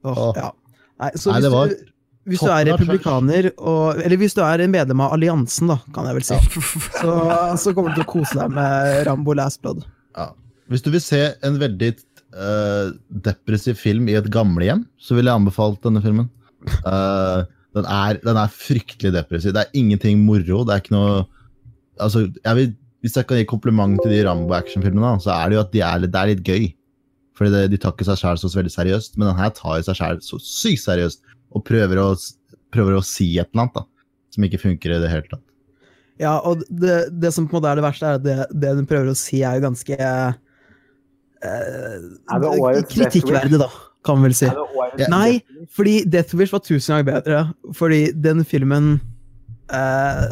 Speaker 3: Åh,
Speaker 2: Åh.
Speaker 3: ja. Nei, så
Speaker 2: Nei,
Speaker 3: hvis,
Speaker 2: det var
Speaker 3: du, hvis du er
Speaker 2: toppen av
Speaker 3: republikaner, og, eller hvis du er en medlem av alliansen, da, kan jeg vel si, så, så kommer du til å kose deg med Rambo Last Blood.
Speaker 2: Hvis du vil se en veldig eh, depressiv film i et gamlehjem, så ville jeg anbefalt denne filmen. Eh, den, er, den er fryktelig depressiv. Det er ingenting moro. Det er ikke noe Altså, jeg vil, Hvis jeg kan gi kompliment til de Rambo-actionfilmene, da, så er det jo at de er, litt- det er litt gøy. Fordi det, de tar ikke seg sjæl så veldig seriøst, men den her tar jo seg sjæl så sykt seriøst og prøver å, s- prøver å si et eller annet da, som ikke funker i det hele tatt.
Speaker 3: Ja, og det, det som på en måte er det verste, er at det, det hun prøver å si, er jo ganske eh,
Speaker 4: Er det årets
Speaker 3: kritikkverdig, da, kan vi vel si.
Speaker 4: Er det årets
Speaker 2: Ja.
Speaker 3: Nei,
Speaker 4: beste?
Speaker 3: Fordi Death Wish var tusen ganger bedre. Fordi den filmen eh,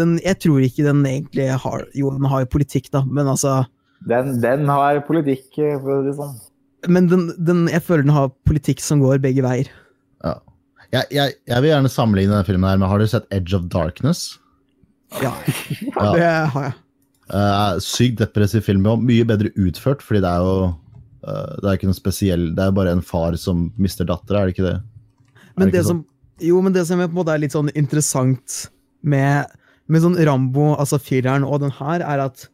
Speaker 3: den, Jeg tror ikke den egentlig har Jo, den har jo politikk, da, men altså
Speaker 4: Den, den har politikk, eh, for å si det sånn.
Speaker 3: Men den, den, jeg føler den har politikk som går begge veier.
Speaker 2: Jeg, jeg, jeg vil gjerne sammenligne denne filmen her med Har du sett Edge of Darkness?
Speaker 3: Ja,
Speaker 2: Ja.
Speaker 3: det har jeg.
Speaker 2: Eh, sykt depressiv film, og mye bedre utført, fordi det er jo eh, det er ikke noe spesiell Det er bare en far som mister dattera, er det ikke det? Er
Speaker 3: Men
Speaker 2: ikke sånn?
Speaker 3: det som, jo, men det som er på en måte er litt sånn interessant med, med sånn Rambo, altså fireren og den her, er at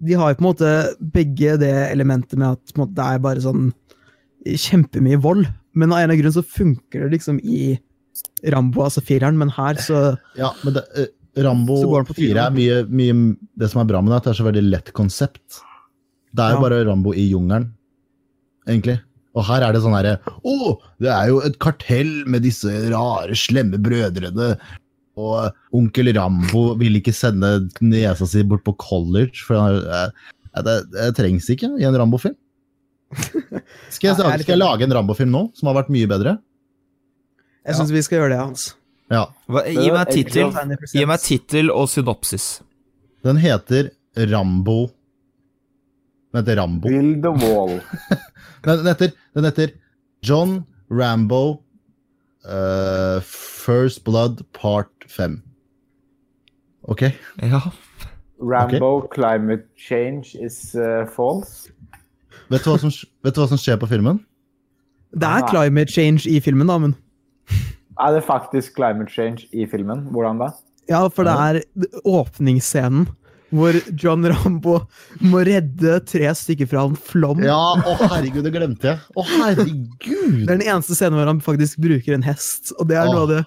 Speaker 3: de har jo på en måte begge det elementet med at på en måte, det er bare sånn kjempemye vold. Men av en eller annen grunn så funker det liksom i Rambo, altså fireren, men her så
Speaker 2: Ja, men det, eh, Rambo
Speaker 3: Så går den på
Speaker 2: 4 er mye, mye Det som er bra med det, er at det er så veldig lett konsept. Det er jo
Speaker 3: Ja.
Speaker 2: bare Rambo i jungelen, egentlig. Og her er det sånn herre Å, det er jo et kartell med disse rare, slemme brødrene. Og onkel Rambo vil ikke sende niesa si bort på college, for han er- eh, det, det trengs ikke i en Rambo-film. Skal, jeg-
Speaker 3: Ja, jeg er litt
Speaker 2: skal jeg
Speaker 3: enig.
Speaker 2: lage en Rambo-film nå, som har vært mye bedre?
Speaker 3: Jeg syns vi skal gjøre det, altså. Hans.
Speaker 2: Ja.
Speaker 1: Hva, gi
Speaker 4: Eh,
Speaker 1: meg tittel. Gi meg tittel og synopsis.
Speaker 2: Den heter Rambo Den heter Rambo.
Speaker 4: Build the wall.
Speaker 2: Nei, den heter, den heter John Rambo eh, First Blood Part 5. Ok.
Speaker 1: Ja.
Speaker 4: Rambo climate change is eh, false.
Speaker 2: Vet du, hva som, vet du hva som skjer på filmen?
Speaker 3: Det er climate change i filmen, da, men
Speaker 4: Er det faktisk climate change i filmen? Hvordan da?
Speaker 3: Ja, for det er åpningsscenen hvor John Rambo må redde tre stykker fra en flom.
Speaker 2: Ja, å herregud, det glemte jeg! Å herregud!
Speaker 3: Det er den eneste scenen hvor han faktisk bruker en hest, og det er noe av det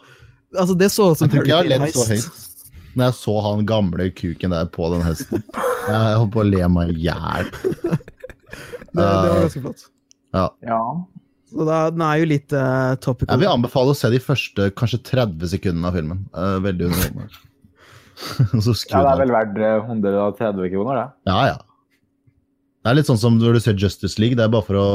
Speaker 3: Altså, det så ut som
Speaker 2: Jeg tror ikke jeg har
Speaker 3: Hurricane
Speaker 2: ledd så
Speaker 3: Heist.
Speaker 2: høyt når jeg så han gamle kuken der på den hesten. Jeg holdt på å le meg i hjel.
Speaker 3: Det, det
Speaker 2: Eh.
Speaker 3: var ganske flott.
Speaker 4: Ja.
Speaker 3: Så da, den er jo litt eh, topical.
Speaker 2: Jeg vil anbefale å se de første kanskje 30 sekundene av filmen. Eh, veldig underholdende. Og så skru den
Speaker 4: ja, det er
Speaker 2: av.
Speaker 4: vel verdt eh, 130 kroner, det.
Speaker 2: Ja, ja. Det er litt sånn som når du ser Justice League. Det er bare for å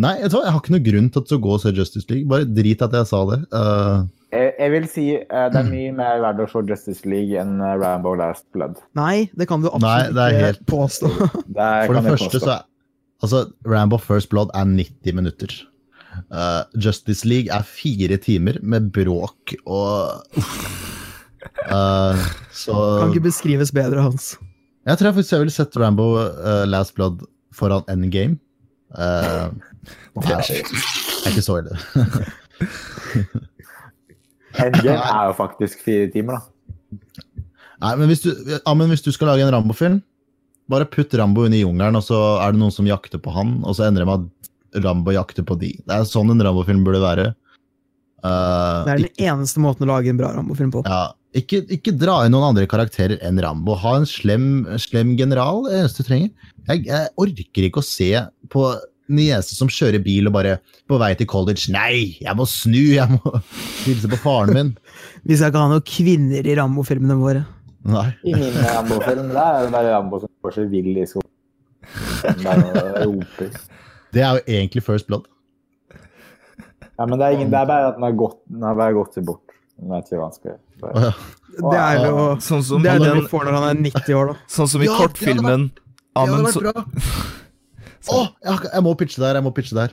Speaker 2: Nei, vet du hva? jeg har ikke noe grunn til å gå og se Justice League. Bare drit at jeg sa det. Eh,
Speaker 4: Jeg, jeg vil si eh, det er mye mer verdt å se Justice League enn eh, Rambo Last Blood.
Speaker 3: Nei, det kan du
Speaker 2: Nei,
Speaker 3: absolutt
Speaker 2: det er
Speaker 3: ikke
Speaker 2: helt-
Speaker 3: påstå.
Speaker 4: Det
Speaker 2: for
Speaker 4: kan
Speaker 2: det
Speaker 4: jeg
Speaker 2: første
Speaker 4: påstå.
Speaker 2: så er Altså, Rambo First Blood er 90 minutter. Eh, Justice League er fire timer med bråk og Eh, Så
Speaker 3: Kan ikke beskrives bedre, Hans.
Speaker 2: Jeg tror jeg faktisk jeg ville sett Rambo eh, Last Blood foran Endgame. Eh, det er det er ikke så ille.
Speaker 4: Endgame er jo faktisk fire timer, da.
Speaker 2: Nei, men hvis du, ja, men hvis du skal lage en Rambo-film, bare putt Rambo inn i jungelen, og så er det noen som jakter på han, og så endrer det med at Rambo jakter på de. Det er sånn en Rambo-film burde være. Eh,
Speaker 3: Det er
Speaker 2: ikke,
Speaker 3: den eneste måten å lage en bra Rambo-film på.
Speaker 2: ja, ikke, ikke dra inn noen andre karakterer enn Rambo. Ha en slem, slem general, det er det eneste du trenger. Jeg, jeg orker ikke å se på niese som kjører bil og bare på vei til college. Nei, jeg må snu, jeg må hilse på faren min.
Speaker 3: Vi skal ikke ha noen kvinner i Rambo-filmene våre.
Speaker 2: Nei.
Speaker 4: I min Rambo-film der er det bare Rambo som går seg vill i skogen. Den der roper.
Speaker 2: Det er jo egentlig First Blood.
Speaker 4: Ja, men det er, ingen, det er bare at den har gått, den har bare gått seg bort. Den er ikke vanskelig.
Speaker 2: Å, ja.
Speaker 3: Det er jo
Speaker 1: Sånn som,
Speaker 3: Det er det
Speaker 1: den,
Speaker 3: vi får når han er 90 år, da.
Speaker 1: sånn som i
Speaker 2: Ja, det hadde
Speaker 1: kortfilmen
Speaker 2: Det
Speaker 1: Amund,
Speaker 2: hadde
Speaker 1: så,
Speaker 2: vært bra. Åh, jeg, har ikke- jeg må pitche der, jeg må pitche der.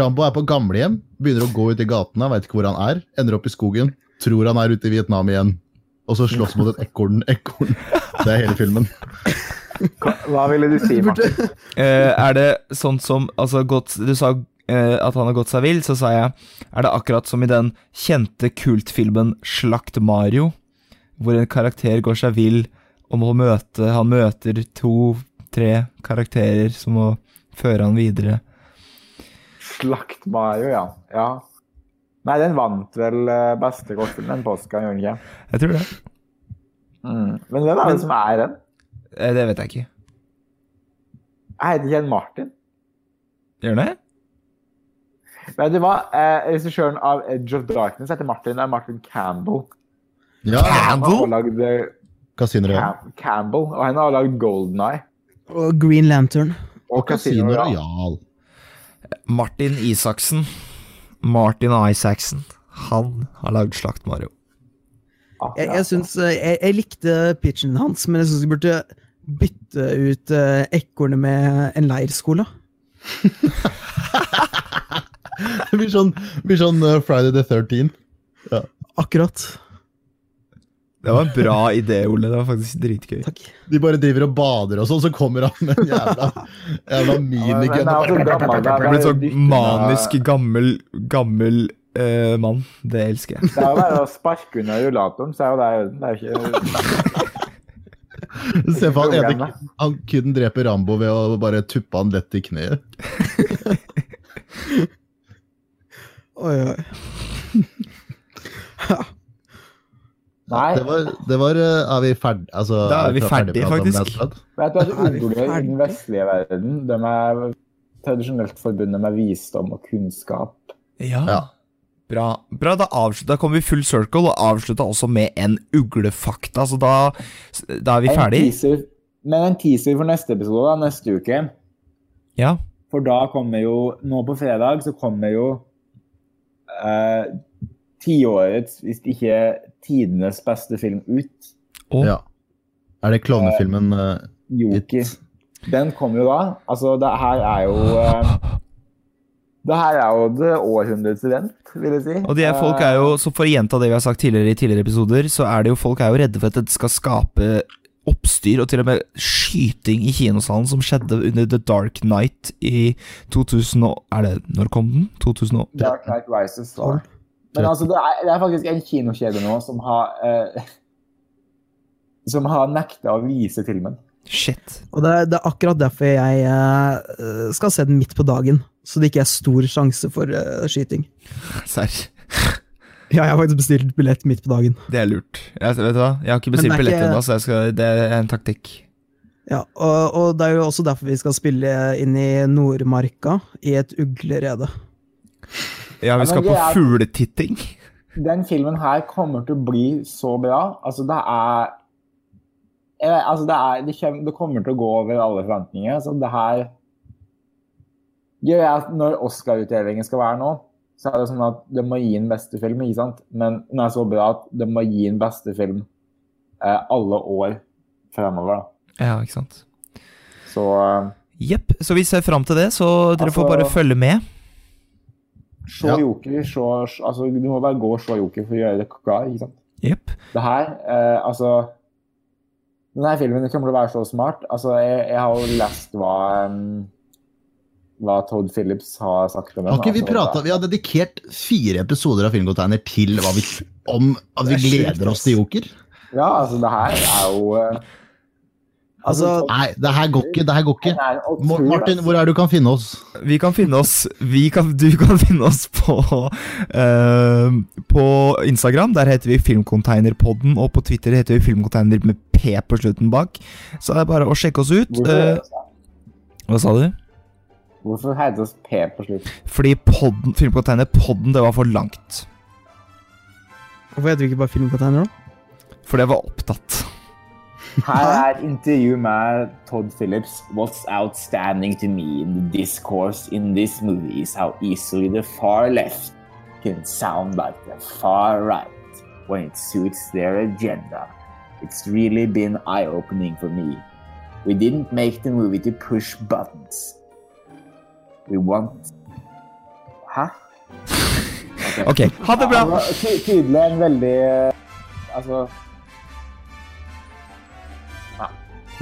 Speaker 2: Rambo er på gamlehjem, begynner å gå ut i gatene, veit ikke hvor han er. Ender opp i skogen, tror han er ute i Vietnam igjen. Og så slåss mot et ekorn. ekorn. Det er hele filmen.
Speaker 4: Hva ville du si,
Speaker 3: Du
Speaker 4: Martin?
Speaker 3: burde,
Speaker 1: Eh, er det sånn som altså, gått, Du sa eh, at han har gått seg vill, så sa jeg Er det akkurat som i den kjente kultfilmen Slakt Mario, hvor en karakter går seg vill og må møte Han møter to-tre karakterer som må føre han videre.
Speaker 4: Slakt Mario, ja. ja. Nei, den vant vel eh, beste kortfilm, den påska, gjorde den ikke?
Speaker 1: Jeg tror det.
Speaker 4: Mm. Men hvem er det som er den?
Speaker 1: Eh, det vet jeg ikke.
Speaker 4: Jeg heter Kjell Martin.
Speaker 1: Gjør det?
Speaker 4: Vet du hva? Eh, Regissøren av Edge of Darkness heter Martin. Det er Martin Campbell.
Speaker 2: Ja,
Speaker 4: Han har også lagd eh,
Speaker 2: Casino
Speaker 4: Cam Campbell, og han har lagd Golden Eye.
Speaker 3: og Green Lantern.
Speaker 4: Og Casino Royale.
Speaker 2: Royal.
Speaker 1: Martin Isaksen. Martin Isaksen. Han har lagd Slakt Mario.
Speaker 3: Jeg, jeg, syns, eh, jeg, jeg likte pitchen hans, men jeg syns vi burde bytte ut eh, ekornet med en leirskole.
Speaker 2: Det blir sånn, det blir sånn eh, Friday the 13th.
Speaker 3: Akkurat.
Speaker 1: Det var en bra idé, Ole. Det var faktisk dritgøy.
Speaker 3: Takk.
Speaker 2: De bare driver og bader og sånn, så kommer han med en jævla, jævla minigun.
Speaker 4: Ja, men- men altså, gammel, det
Speaker 2: og
Speaker 4: er-
Speaker 1: Jeg ble sånn
Speaker 4: dytten,
Speaker 1: manisk gammel, gammel eh, mann. Det elsker jeg.
Speaker 4: Det er jo bare å sparke unna rullatoren, så er jo det i orden. Det er jo ikke
Speaker 2: bare- Se for han ene
Speaker 4: programmet.
Speaker 2: han kun dreper Rambo ved å bare tuppe han lett i kneet.
Speaker 3: Oi, oi.
Speaker 4: Nei,
Speaker 2: Det var, det var eh, Er vi ferdig? Altså,
Speaker 1: Da er vi ferdig,
Speaker 2: ferdigpratet om det
Speaker 1: faktisk.
Speaker 2: her, Vlad?
Speaker 4: vet du at
Speaker 3: Er vi
Speaker 4: ordene i den
Speaker 3: ferdig?
Speaker 4: vestlige verden de er tradisjonelt forbundet med visdom og kunnskap.
Speaker 1: Ja.
Speaker 2: Ja.
Speaker 1: Bra. Bra, da, avslut, da kom vi full circle, og avslutta også med en uglefakta, så da, da er vi
Speaker 4: En
Speaker 1: ferdig.
Speaker 4: teaser- Men en teaser for neste episode, da, neste uke.
Speaker 1: Ja.
Speaker 4: For da kommer jo Nå på fredag så kommer jo eh, tiårets, hvis ikke tidenes beste film ut.
Speaker 1: Og
Speaker 2: Ja. Er det klovnefilmen eh,
Speaker 4: Joker.
Speaker 2: It?
Speaker 4: Den kommer jo da. Altså, det her er jo eh, Det her er jo det århundrets event, vil jeg si. Eh,
Speaker 1: Og de er, folk er jo, så For å gjenta det vi har sagt tidligere i tidligere episoder, så er det jo folk er jo redde for at det skal skape oppstyr og til og med skyting i kinosalen, som skjedde under The Dark Night i 2000 og, Er det Når kom den? 2000 og
Speaker 4: Eh, Dark Knight Rises. Da.
Speaker 3: Tolv.
Speaker 4: Men altså, det er, det er faktisk en kinokjede nå som har eh, Som har nekta å vise filmen.
Speaker 1: Shit.
Speaker 3: Og det er, det er akkurat derfor jeg eh, skal se den midt på dagen, så det ikke er stor sjanse for eh, skyting.
Speaker 1: Serr.
Speaker 3: Ja, jeg har faktisk bestilt billett midt på dagen.
Speaker 1: Det er lurt. Jeg, vet du hva? jeg har ikke bestilt
Speaker 3: Men det er
Speaker 1: billett
Speaker 3: ikke-
Speaker 1: ennå, så jeg skal, det er en taktikk.
Speaker 3: Ja, og, og det er jo også derfor vi skal spille inn i Nordmarka, i et uglerede.
Speaker 1: Ja, vi
Speaker 4: men
Speaker 1: skal
Speaker 4: det
Speaker 1: på
Speaker 4: er-
Speaker 1: fugletitting.
Speaker 4: Den filmen her kommer til å bli så bra. Altså, det er jeg vet, Altså, det, er, det, kommer, det kommer til å gå over alle forventninger. Altså, det her gjør jeg at Når Oscar-utdelingen skal være nå, så er det sånn at de må gi en beste film, ikke sant? Men den er så bra at de må gi en beste film eh, alle år fremover. da.
Speaker 1: Ja, ikke sant.
Speaker 4: Så eh,
Speaker 1: Jepp. Så vi ser fram til det, så dere får
Speaker 4: Altså-
Speaker 1: bare følge med.
Speaker 4: se
Speaker 2: Ja.
Speaker 4: Joker, se Altså, du må bare gå og se Joker for å gjøre det klar, ikke sant?
Speaker 1: Jepp.
Speaker 4: Det her, eh, altså Denne filmen kommer til å være så smart. Altså, jeg, jeg har jo lest hva em, hva Todd Phillips har sagt om den.
Speaker 2: Har ikke vi
Speaker 4: altså,
Speaker 2: pratet,
Speaker 4: det-
Speaker 2: Vi har dedikert fire episoder av Filmcontainer til hva vi om at vi
Speaker 3: Det er sjukt,
Speaker 2: gleder oss
Speaker 3: ass.
Speaker 2: til Joker.
Speaker 4: Ja, altså, det her er jo eh,
Speaker 3: Altså,
Speaker 2: Nei, det her går ikke. Det her går
Speaker 4: den
Speaker 2: ikke.
Speaker 4: er altså. en
Speaker 2: Mo-
Speaker 4: utrolig-
Speaker 2: Martin, hvor er det du kan finne oss?
Speaker 1: Vi kan finne oss vi kan, Du kan finne oss på eh, På Instagram. Der heter vi Filmcontainerpodden, og på Twitter heter vi Filmcontainer med P på slutten bak. Så det er bare å sjekke oss ut. Eh,
Speaker 4: Hvorfor,
Speaker 1: hva sa du?
Speaker 4: hvorfor heter det oss P på slutt?
Speaker 1: Fordi podden, Filmcontainerpodden, det var for langt.
Speaker 3: hvorfor heter vi ikke bare Filmcontainer, da?
Speaker 1: For det var opptatt.
Speaker 4: Her er et intervju med Todd Phillips. What's outstanding to me in the discourse in this movie is how easily the far left can sound like the far right when it suits their agenda. It's really been eye opening for me. We didn't make the movie to push buttons. We want Hæ?
Speaker 1: Ok, ha det bra!
Speaker 4: Han var ty tydelig en veldig eh, Altså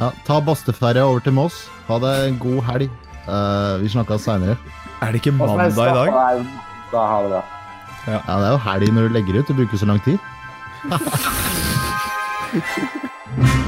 Speaker 2: Ja, ta basteferja over til Moss. Ha deg en god helg. Eh, vi snakkes seinere.
Speaker 1: Er det ikke
Speaker 4: Og så er
Speaker 1: mandag i dag?
Speaker 4: Stavanger- Da har vi det.
Speaker 2: Ja, det er jo helg når du legger ut. Du bruker så lang tid.